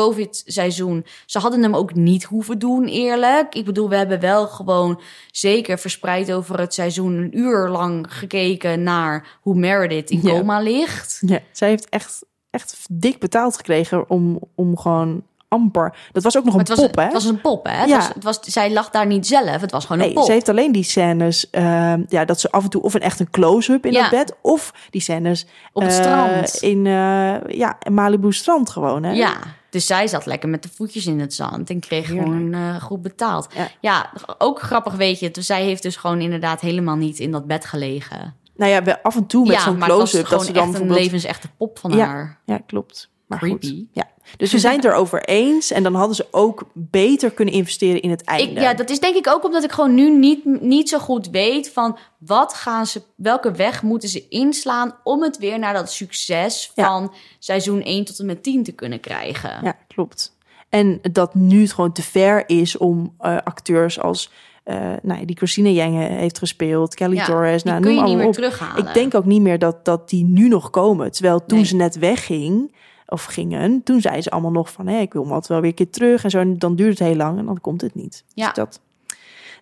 Speaker 1: COVID-seizoen. Ze hadden hem ook niet hoeven doen, eerlijk. Ik bedoel, we hebben wel gewoon zeker verspreid over het seizoen een uur lang gekeken naar hoe Meredith in
Speaker 2: Ja.
Speaker 1: coma ligt.
Speaker 2: Ja, zij heeft echt, echt dik betaald gekregen om, om gewoon amper. Dat was ook nog
Speaker 1: Maar
Speaker 2: een
Speaker 1: het was,
Speaker 2: pop, hè?
Speaker 1: het was een pop, hè? Het
Speaker 2: Ja.
Speaker 1: was, het was, zij lag daar niet zelf. Het was gewoon een
Speaker 2: Nee,
Speaker 1: pop.
Speaker 2: ze heeft alleen die scènes, ehm, ja, dat ze af en toe of een echt een close-up in
Speaker 1: Ja.
Speaker 2: dat bed, of die scènes
Speaker 1: Op het
Speaker 2: eh,
Speaker 1: strand.
Speaker 2: in eh, ja Malibu strand gewoon, hè?
Speaker 1: Ja, dus zij zat lekker met de voetjes in het zand en kreeg
Speaker 2: Heerlijk.
Speaker 1: gewoon eh, goed betaald.
Speaker 2: Ja.
Speaker 1: Ja, ook grappig weet je. Dus zij heeft dus gewoon inderdaad helemaal niet in dat bed gelegen.
Speaker 2: Nou ja, wel af en toe met
Speaker 1: ja,
Speaker 2: zo'n
Speaker 1: maar het was
Speaker 2: close-up
Speaker 1: gewoon
Speaker 2: dat ze dan
Speaker 1: echt een
Speaker 2: bijvoorbeeld-
Speaker 1: levensechte pop van
Speaker 2: Ja.
Speaker 1: haar.
Speaker 2: Ja, klopt. Maar goed.
Speaker 1: Creepy.
Speaker 2: Ja. Dus we zijn het erover eens en dan hadden ze ook beter kunnen investeren in het einde.
Speaker 1: Ik, ja, dat is denk ik ook omdat ik gewoon nu niet, niet zo goed weet van wat gaan ze, welke weg moeten ze inslaan om het weer naar dat succes
Speaker 2: Ja.
Speaker 1: van seizoen 1 tot en met 10 te kunnen krijgen.
Speaker 2: Ja, klopt. En dat nu het gewoon te ver is om eh, acteurs als eh, nou, ja, die Christina Jenge heeft gespeeld, Kelly
Speaker 1: Ja,
Speaker 2: Torres,
Speaker 1: die
Speaker 2: nou,
Speaker 1: kun
Speaker 2: noem
Speaker 1: je niet
Speaker 2: allemaal
Speaker 1: meer
Speaker 2: op.
Speaker 1: terughalen.
Speaker 2: Ik denk ook niet meer dat, dat die nu nog komen. Terwijl toen
Speaker 1: Nee.
Speaker 2: ze net wegging, of gingen, toen zeiden ze allemaal nog van... Hé, ik wil me altijd wel weer een keer terug en zo. En dan duurt het heel lang en dan komt het niet.
Speaker 1: Ja.
Speaker 2: Dus dat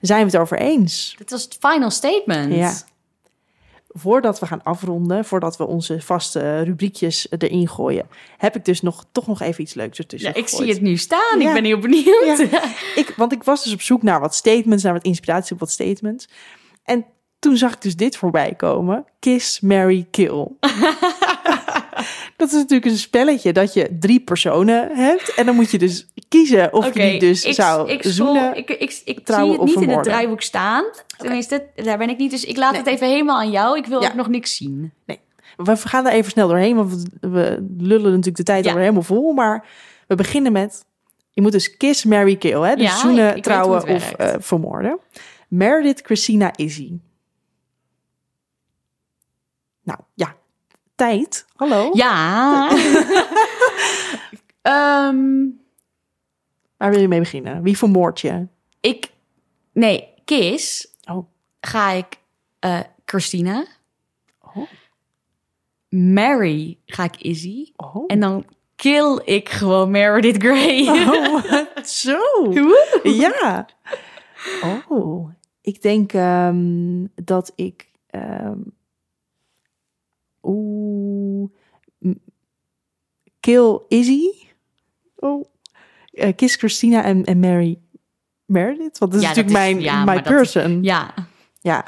Speaker 2: zijn we het over eens.
Speaker 1: Dit was het final statement.
Speaker 2: Ja. voordat we gaan afronden, voordat we onze vaste rubriekjes erin gooien, heb ik dus nog, toch nog even iets leuks ertussen.
Speaker 1: Ja, ik
Speaker 2: gegooid.
Speaker 1: zie het nu staan.
Speaker 2: Ja.
Speaker 1: Ik ben heel benieuwd. [laughs]
Speaker 2: Ik, want ik was dus op zoek naar wat statements, naar wat inspiratie op wat statements. En toen zag ik dus dit voorbij komen: Kiss, Mary, Kill. [laughs] dat is natuurlijk een spelletje dat je drie personen hebt. En dan moet je dus kiezen of je die dus
Speaker 1: ik,
Speaker 2: zou
Speaker 1: ik,
Speaker 2: zoenen.
Speaker 1: Ik, ik, ik
Speaker 2: trouwen
Speaker 1: zie het niet in
Speaker 2: of
Speaker 1: het
Speaker 2: vermoorden.
Speaker 1: draaiboek staan. Tenminste, daar ben ik niet. Dus ik laat
Speaker 2: Nee.
Speaker 1: het even helemaal aan jou. Ik wil
Speaker 2: Ja.
Speaker 1: ook nog niks zien.
Speaker 2: We gaan er even snel doorheen, want we- we lullen natuurlijk de tijd
Speaker 1: Ja.
Speaker 2: alweer helemaal vol. Maar we beginnen met, je moet dus kiss, marry, kill. Hè? Dus
Speaker 1: Ja, ik- ik
Speaker 2: zoenen,
Speaker 1: weet
Speaker 2: trouwen
Speaker 1: hoe het
Speaker 2: of
Speaker 1: werkt.
Speaker 2: eh, vermoorden. Meredith, Christina, Izzy. Nou, ja. Tijd. Hallo.
Speaker 1: Ja. [laughs] Ehm,
Speaker 2: Waar wil je mee beginnen? Wie vermoord je?
Speaker 1: ik. Nee, Kiss.
Speaker 2: Oh.
Speaker 1: Ga ik eh, Christina.
Speaker 2: Oh.
Speaker 1: Mary ga ik Izzy.
Speaker 2: Oh.
Speaker 1: En dan kill ik gewoon Meredith Grey.
Speaker 2: Oh, [laughs] zo.
Speaker 1: Woe.
Speaker 2: Ja. Oh, ik denk ehm, dat ik. ehm Oeh. m- Kill Izzy. Oh. eh, kiss Christina en, en Mary Meredith. Want dat is
Speaker 1: Ja, dat
Speaker 2: natuurlijk
Speaker 1: is-
Speaker 2: mijn,
Speaker 1: ja,
Speaker 2: my
Speaker 1: maar dat-
Speaker 2: person. ja.
Speaker 1: [laughs] ja.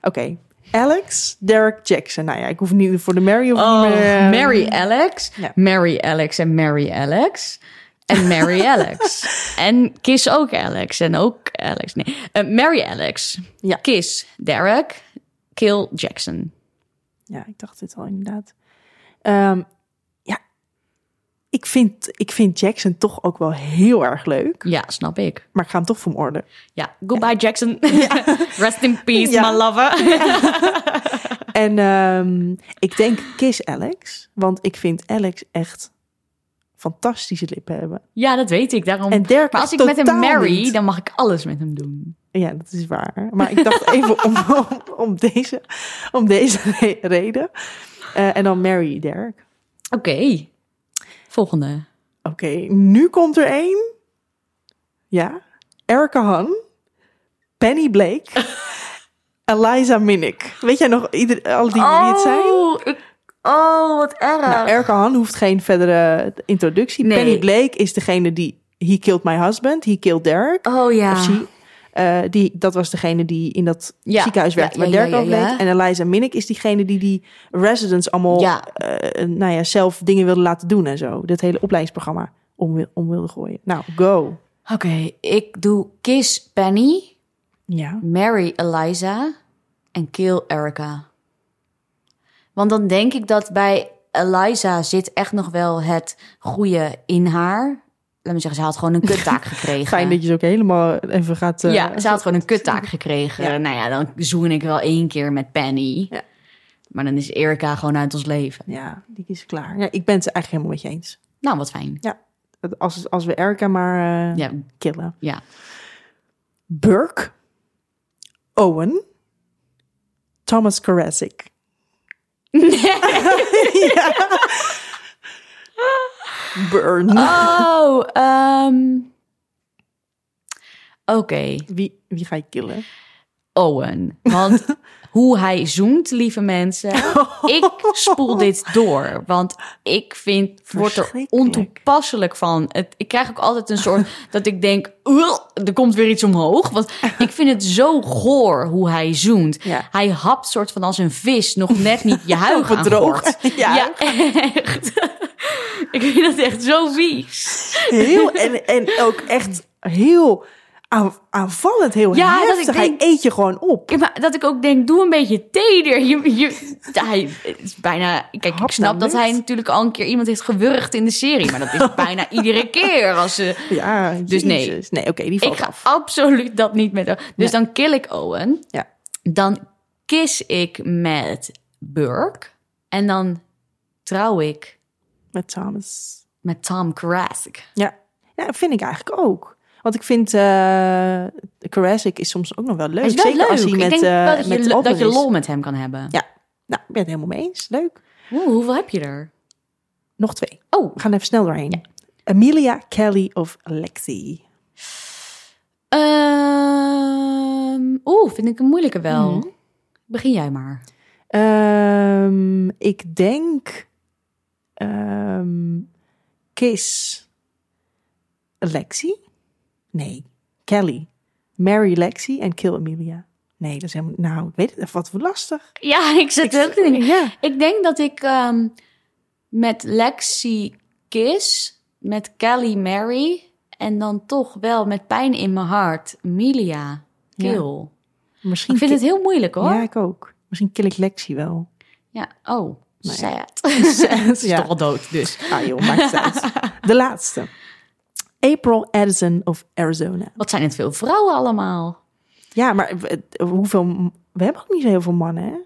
Speaker 2: Oké. Alex, Derek Jackson. Nou ja, ik hoef niet voor de Mary of
Speaker 1: Oh,
Speaker 2: niet meer, ehm,
Speaker 1: Mary Alex.
Speaker 2: Ja.
Speaker 1: Mary Alex en Mary Alex. En
Speaker 2: [laughs]
Speaker 1: Mary Alex. en Kiss ook Alex. En ook Alex. Nee. Eh, Mary Alex.
Speaker 2: Ja.
Speaker 1: Kiss Derek. Kill Jackson.
Speaker 2: Ja, ik dacht dit al inderdaad. Ehm, ja, ik vind, ik vind Jackson toch ook wel heel erg leuk.
Speaker 1: Ja, snap ik.
Speaker 2: Maar ik ga hem toch vermoorden.
Speaker 1: Ja, [laughs] goodbye Jackson. Rest in peace,
Speaker 2: Ja.
Speaker 1: my lover.
Speaker 2: En ehm, ik denk kiss Alex. Want ik vind Alex echt fantastische lippen hebben.
Speaker 1: [laughs] ja, dat weet ik. Daarom...
Speaker 2: En Dirk
Speaker 1: maar als ik met hem
Speaker 2: totaal
Speaker 1: marry,
Speaker 2: niet.
Speaker 1: dan mag ik alles met hem doen.
Speaker 2: Ja, dat is waar. Maar ik dacht even om, om, om deze, om deze [laughs] re- reden. Eh, en dan Mary Derek.
Speaker 1: Oké. Volgende.
Speaker 2: Oké, nu komt er één. Ja. Erica Han. Penny
Speaker 1: [laughs]
Speaker 2: Blake. Eliza Minnick. Weet jij nog ieder, al die wie het zijn?
Speaker 1: oh, wat erg.
Speaker 2: Nou, Erica Han hoeft geen verdere introductie.
Speaker 1: Nee.
Speaker 2: Penny Blake is degene die... He killed my husband. He killed Derek.
Speaker 1: oh ja.
Speaker 2: Of she. Eh, die, dat was degene die in dat
Speaker 1: Ja,
Speaker 2: ziekenhuis werkte
Speaker 1: ja, ja,
Speaker 2: waar Dirk
Speaker 1: ja, ja,
Speaker 2: overleed.
Speaker 1: ja.
Speaker 2: En Eliza Minnick is diegene die die residents allemaal
Speaker 1: Ja.
Speaker 2: eh, nou ja, zelf dingen wilde laten doen en zo. Dat hele opleidingsprogramma om, wil- om wilde gooien. Nou, go.
Speaker 1: Oké, ik doe Kiss Penny,
Speaker 2: Ja.
Speaker 1: Marry Eliza en Kill Erica. Want dan denk ik dat bij Eliza zit echt nog wel het goede in haar. Laat me zeggen, ze had gewoon een
Speaker 2: [laughs]
Speaker 1: kuttaak gekregen.
Speaker 2: Fijn dat je ze ook helemaal even gaat... eh,
Speaker 1: Ja, ze had gewoon een kuttaak gekregen.
Speaker 2: Ja.
Speaker 1: Nou ja, dan zoen ik wel één keer met Penny.
Speaker 2: Ja.
Speaker 1: Maar dan is Erica gewoon uit ons leven.
Speaker 2: ja, die is klaar. Ja, ik ben het eigenlijk helemaal met je eens.
Speaker 1: Nou, wat fijn.
Speaker 2: Dat Als, als we Erica maar eh,
Speaker 1: Ja,
Speaker 2: killen. [laughs]
Speaker 1: ja. [laughs]
Speaker 2: Burke. Owen. Thomas Karasik. [laughs]
Speaker 1: [laughs]
Speaker 2: ja. Burn.
Speaker 1: Oh, ehm, oké.
Speaker 2: Wie, wie ga je killen?
Speaker 1: Owen.
Speaker 2: [laughs]
Speaker 1: Want hoe hij zoent, lieve mensen. Ik spoel dit door. Want ik vind, word er
Speaker 2: Verschrikkelijk.
Speaker 1: ontoepasselijk van. Het, ik krijg ook altijd een
Speaker 2: [laughs]
Speaker 1: soort dat ik denk, "Ugh, er komt weer iets omhoog. Want ik vind het zo goor hoe hij zoent.
Speaker 2: Ja.
Speaker 1: Hij hapt soort van als een vis nog net niet je
Speaker 2: [laughs]
Speaker 1: huig aan
Speaker 2: Bedroog.
Speaker 1: gort.
Speaker 2: Ja.
Speaker 1: ja, [laughs] echt. Ik vind dat echt zo vies. [laughs]
Speaker 2: Heel, en, en ook echt heel aan- aanvallend, heel
Speaker 1: Ja, dat ik
Speaker 2: heftig. Hij
Speaker 1: denk-
Speaker 2: eet je gewoon op.
Speaker 1: Ja, maar dat ik ook denk, doe een beetje teder. Je, je, hij het is bijna. Kijk,
Speaker 2: Hap
Speaker 1: ik snap
Speaker 2: nou
Speaker 1: dat
Speaker 2: niet.
Speaker 1: hij natuurlijk al een keer iemand heeft gewurgd in de serie. Maar dat
Speaker 2: [laughs]
Speaker 1: is bijna iedere keer. Als ze,
Speaker 2: Ja,
Speaker 1: Dus nee.
Speaker 2: jezus. Nee, oké, die
Speaker 1: ik
Speaker 2: valt
Speaker 1: ga
Speaker 2: af.
Speaker 1: absoluut dat niet met. Dus
Speaker 2: Nee.
Speaker 1: dan kill ik Owen.
Speaker 2: Ja.
Speaker 1: Dan kiss ik met Burke. En dan trouw ik
Speaker 2: Met Thomas.
Speaker 1: met Tom Krask.
Speaker 2: Ja. ja, dat vind ik eigenlijk ook. Want ik vind eh Jurassic is soms ook nog wel leuk.
Speaker 1: Hij is wel
Speaker 2: Zeker
Speaker 1: leuk.
Speaker 2: als hij
Speaker 1: ik
Speaker 2: met,
Speaker 1: denk
Speaker 2: eh,
Speaker 1: wel dat,
Speaker 2: met
Speaker 1: je, lo-
Speaker 2: Oppen
Speaker 1: dat je
Speaker 2: is.
Speaker 1: lol met hem kan hebben.
Speaker 2: Ja, nou, ik ben het helemaal mee eens. Leuk.
Speaker 1: Oeh, hoeveel heb je er?
Speaker 2: Nog twee.
Speaker 1: Oh,
Speaker 2: We gaan even snel doorheen. Amelia, Kelly of Lexi? Mhm.
Speaker 1: Ehm Oeh, vind ik een moeilijke wel. Begin jij maar.
Speaker 2: Ehm, ik denk ehm Kiss. Lexi? Nee, Kelly. Mary Lexi en Kill Amelia. Nee, dat is helemaal... Nou, ik weet het. Wat voor lastig.
Speaker 1: Ja, ik zit ook te denken.
Speaker 2: Ja.
Speaker 1: Ik denk dat ik ehm, met Lexi Kiss, met Kelly Mary en dan toch wel met pijn in mijn hart, Milia Kill.
Speaker 2: Misschien
Speaker 1: Ik vind
Speaker 2: Ki-
Speaker 1: het heel moeilijk hoor.
Speaker 2: Ja,
Speaker 1: Ja,
Speaker 2: ik ook. Misschien kill ik Lexi wel.
Speaker 1: oh,
Speaker 2: Nou
Speaker 1: [laughs] sad.
Speaker 2: Sad,
Speaker 1: Ze is
Speaker 2: [laughs] ja.
Speaker 1: toch al dood dus.
Speaker 2: Ah joh, maakt het uit.
Speaker 1: [laughs]
Speaker 2: De laatste. April Addison of Arizona.
Speaker 1: Wat zijn het veel vrouwen allemaal?
Speaker 2: Ja, maar w- het- hoeveel... We hebben ook niet zo heel veel mannen, hè?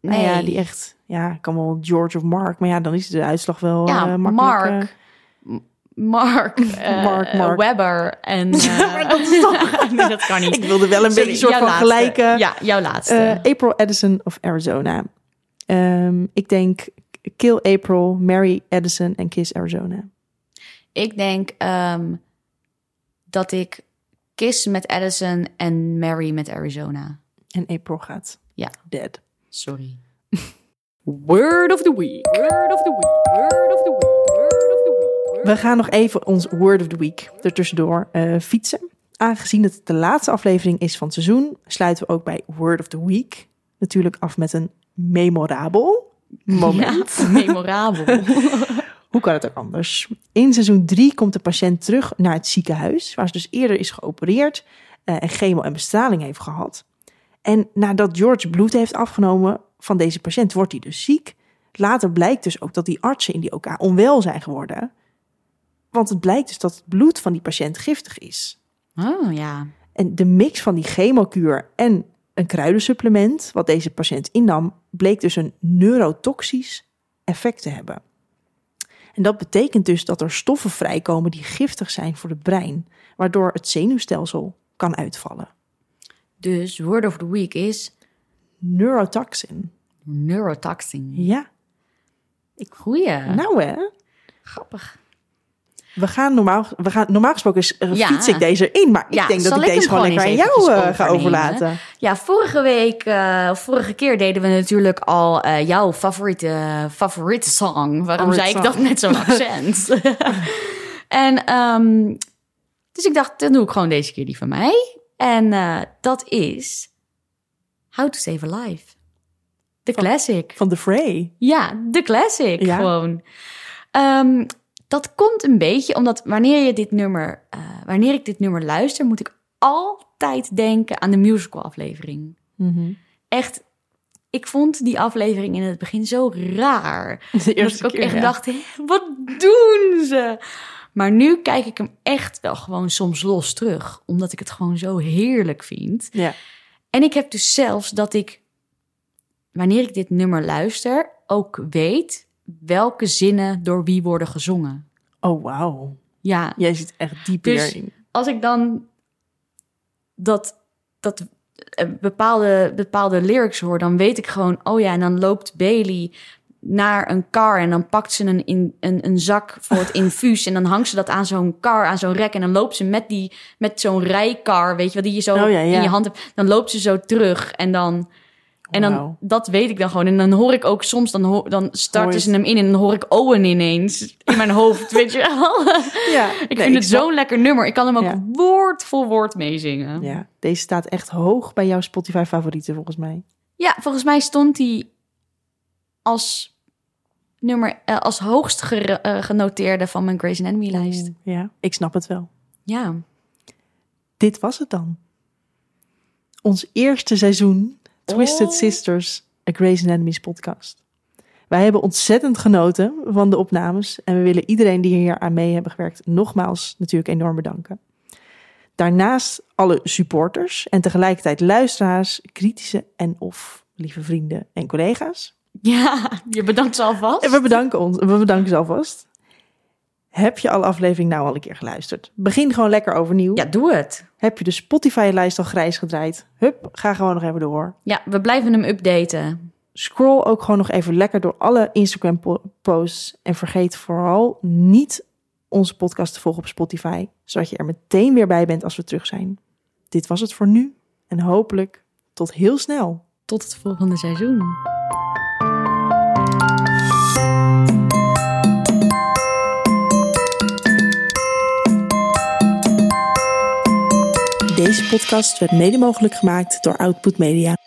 Speaker 2: Nou ja, die echt... Ja, kan wel George of Mark. Maar ja, dan is de uitslag wel
Speaker 1: Ja,
Speaker 2: eh, makkelijk.
Speaker 1: Mark.
Speaker 2: eh.
Speaker 1: [laughs]
Speaker 2: [laughs]
Speaker 1: Mark, eh,
Speaker 2: Mark, Mark.
Speaker 1: Webber
Speaker 2: [laughs]
Speaker 1: en... eh,
Speaker 2: maar dat is
Speaker 1: [laughs]
Speaker 2: toch-
Speaker 1: nee, dat kan niet.
Speaker 2: Ik wilde wel een
Speaker 1: Sorry,
Speaker 2: beetje een soort
Speaker 1: jouw
Speaker 2: van
Speaker 1: laatste.
Speaker 2: gelijke...
Speaker 1: Ja, jouw laatste.
Speaker 2: Eh, April Addison of Arizona. Ehm, ik denk Kill April, Mary Addison en Kiss Arizona.
Speaker 1: Ik denk ehm, dat ik Kiss met Addison en Mary met Arizona.
Speaker 2: En April gaat
Speaker 1: Ja.
Speaker 2: dead.
Speaker 1: Sorry. Word of the week. Word of the week. Word of the week. Word of the week.
Speaker 2: We gaan nog even ons Word of the Week ertussendoor eh fietsen. Aangezien het de laatste aflevering is van het seizoen, sluiten we ook bij Word of the Week. Natuurlijk af met een memorabel moment. [laughs]
Speaker 1: Ja, memorabel.
Speaker 2: Hoe kan het ook anders? In seizoen 3 komt de patiënt terug naar het ziekenhuis, waar ze dus eerder is geopereerd eh, en chemo en bestraling heeft gehad. En nadat George bloed heeft afgenomen van deze patiënt, wordt hij dus ziek. Later blijkt dus ook dat die artsen in die OK onwel zijn geworden. Want het blijkt dus dat het bloed van die patiënt giftig is.
Speaker 1: Oh ja.
Speaker 2: En de mix van die chemokuur en een kruidensupplement, wat deze patiënt innam, bleek dus een neurotoxisch effect te hebben. En dat betekent dus dat er stoffen vrijkomen die giftig zijn voor het brein, waardoor het zenuwstelsel kan uitvallen.
Speaker 1: Dus word of the week is
Speaker 2: Neurotoxin.
Speaker 1: neurotoxin.
Speaker 2: Ja,
Speaker 1: Goeie.
Speaker 2: nou hè. Nou,
Speaker 1: grappig.
Speaker 2: We gaan normaal, we gaan, normaal gesproken is, eh,
Speaker 1: Ja.
Speaker 2: fiets ik deze in, maar ik
Speaker 1: Ja,
Speaker 2: denk dat
Speaker 1: zal
Speaker 2: ik
Speaker 1: ik hem
Speaker 2: deze gewoon
Speaker 1: gewoon
Speaker 2: lekker aan
Speaker 1: eens
Speaker 2: jou
Speaker 1: eventjes
Speaker 2: eh, ga
Speaker 1: overnemen?
Speaker 2: overlaten.
Speaker 1: Ja, vorige week, eh, of vorige keer deden we natuurlijk al eh, jouw favoriete, favoriete song. Waarom
Speaker 2: Favorite
Speaker 1: zei ik
Speaker 2: song.
Speaker 1: dat met
Speaker 2: [laughs]
Speaker 1: zo'n accent? [laughs] en ehm, dus ik dacht, dan doe ik gewoon deze keer die van mij. En eh, dat is How to Save a Life. De classic.
Speaker 2: Van de Frey.
Speaker 1: Ja, de classic
Speaker 2: Ja.
Speaker 1: gewoon. Ehm, dat komt een beetje omdat wanneer, je dit nummer, eh, wanneer ik dit nummer luister, moet ik altijd denken aan de musical aflevering
Speaker 2: [laughs]
Speaker 1: echt. Ik vond die aflevering in het begin zo raar.
Speaker 2: De
Speaker 1: dat ik ook echt dacht, "Hè, wat doen ze? Maar nu kijk ik hem echt wel gewoon soms los terug. Omdat ik het gewoon zo heerlijk vind.
Speaker 2: Ja.
Speaker 1: En ik heb dus zelfs dat ik, wanneer ik dit nummer luister, ook weet welke zinnen door wie worden gezongen.
Speaker 2: Oh, wauw.
Speaker 1: Ja,
Speaker 2: Jij zit echt diep
Speaker 1: Dus-
Speaker 2: hierin.
Speaker 1: als ik dan dat, dat eh, bepaalde, bepaalde lyrics hoor, dan weet ik gewoon, oh ja, en dan loopt Bailey naar een car en dan pakt ze een, in, een, een zak voor
Speaker 2: [laughs]
Speaker 1: het infuus en dan hangt ze dat aan zo'n car, aan zo'n rek en dan loopt ze met, die met zo'n rijkar, weet je wel, die je zo
Speaker 2: Oh ja, ja.
Speaker 1: in je hand hebt, dan loopt ze zo terug en dan... En dan,
Speaker 2: Wauw.
Speaker 1: dat weet ik dan gewoon. En dan hoor ik ook soms, dan, hoor, dan starten
Speaker 2: Hoor je
Speaker 1: ze hem in en dan hoor ik Owen ineens in mijn hoofd, weet je wel.
Speaker 2: Ja,
Speaker 1: Ik vind het zo'n lekker nummer. Ik kan hem ook
Speaker 2: Ja.
Speaker 1: woord voor woord meezingen. Ja.
Speaker 2: Ja, deze staat echt hoog bij jouw Spotify-favorieten volgens mij.
Speaker 1: volgens mij stond hij als nummer eh, als hoogst gere- eh, genoteerde van mijn Grace Anatomy lijst.
Speaker 2: Ja, ik snap het wel.
Speaker 1: Ja.
Speaker 2: Dit was het dan. Ons eerste seizoen Twisted
Speaker 1: Oh.
Speaker 2: Sisters, a Grey's Anatomy podcast. Wij hebben ontzettend genoten van de opnames en we willen iedereen die hier aan mee hebben gewerkt nogmaals natuurlijk enorm bedanken. Daarnaast alle supporters en tegelijkertijd luisteraars, kritische en of lieve vrienden en collega's.
Speaker 1: Ja, [laughs] je bedankt ze alvast.
Speaker 2: En we bedanken ons. We bedanken ze alvast. Heb je alle aflevering nou al een keer geluisterd? Begin gewoon lekker overnieuw.
Speaker 1: Ja, doe het.
Speaker 2: Heb je de Spotify-lijst al grijs gedraaid? Hup, ga gewoon nog even door.
Speaker 1: Ja, we blijven hem updaten.
Speaker 2: Scroll ook gewoon nog even lekker door alle Instagram-posts. En vergeet vooral niet onze podcast te volgen op Spotify. Zodat je er meteen weer bij bent als we terug zijn. Dit was het voor nu. En hopelijk tot heel snel.
Speaker 1: tot het volgende seizoen.
Speaker 2: Deze podcast werd mede mogelijk gemaakt door Output Media.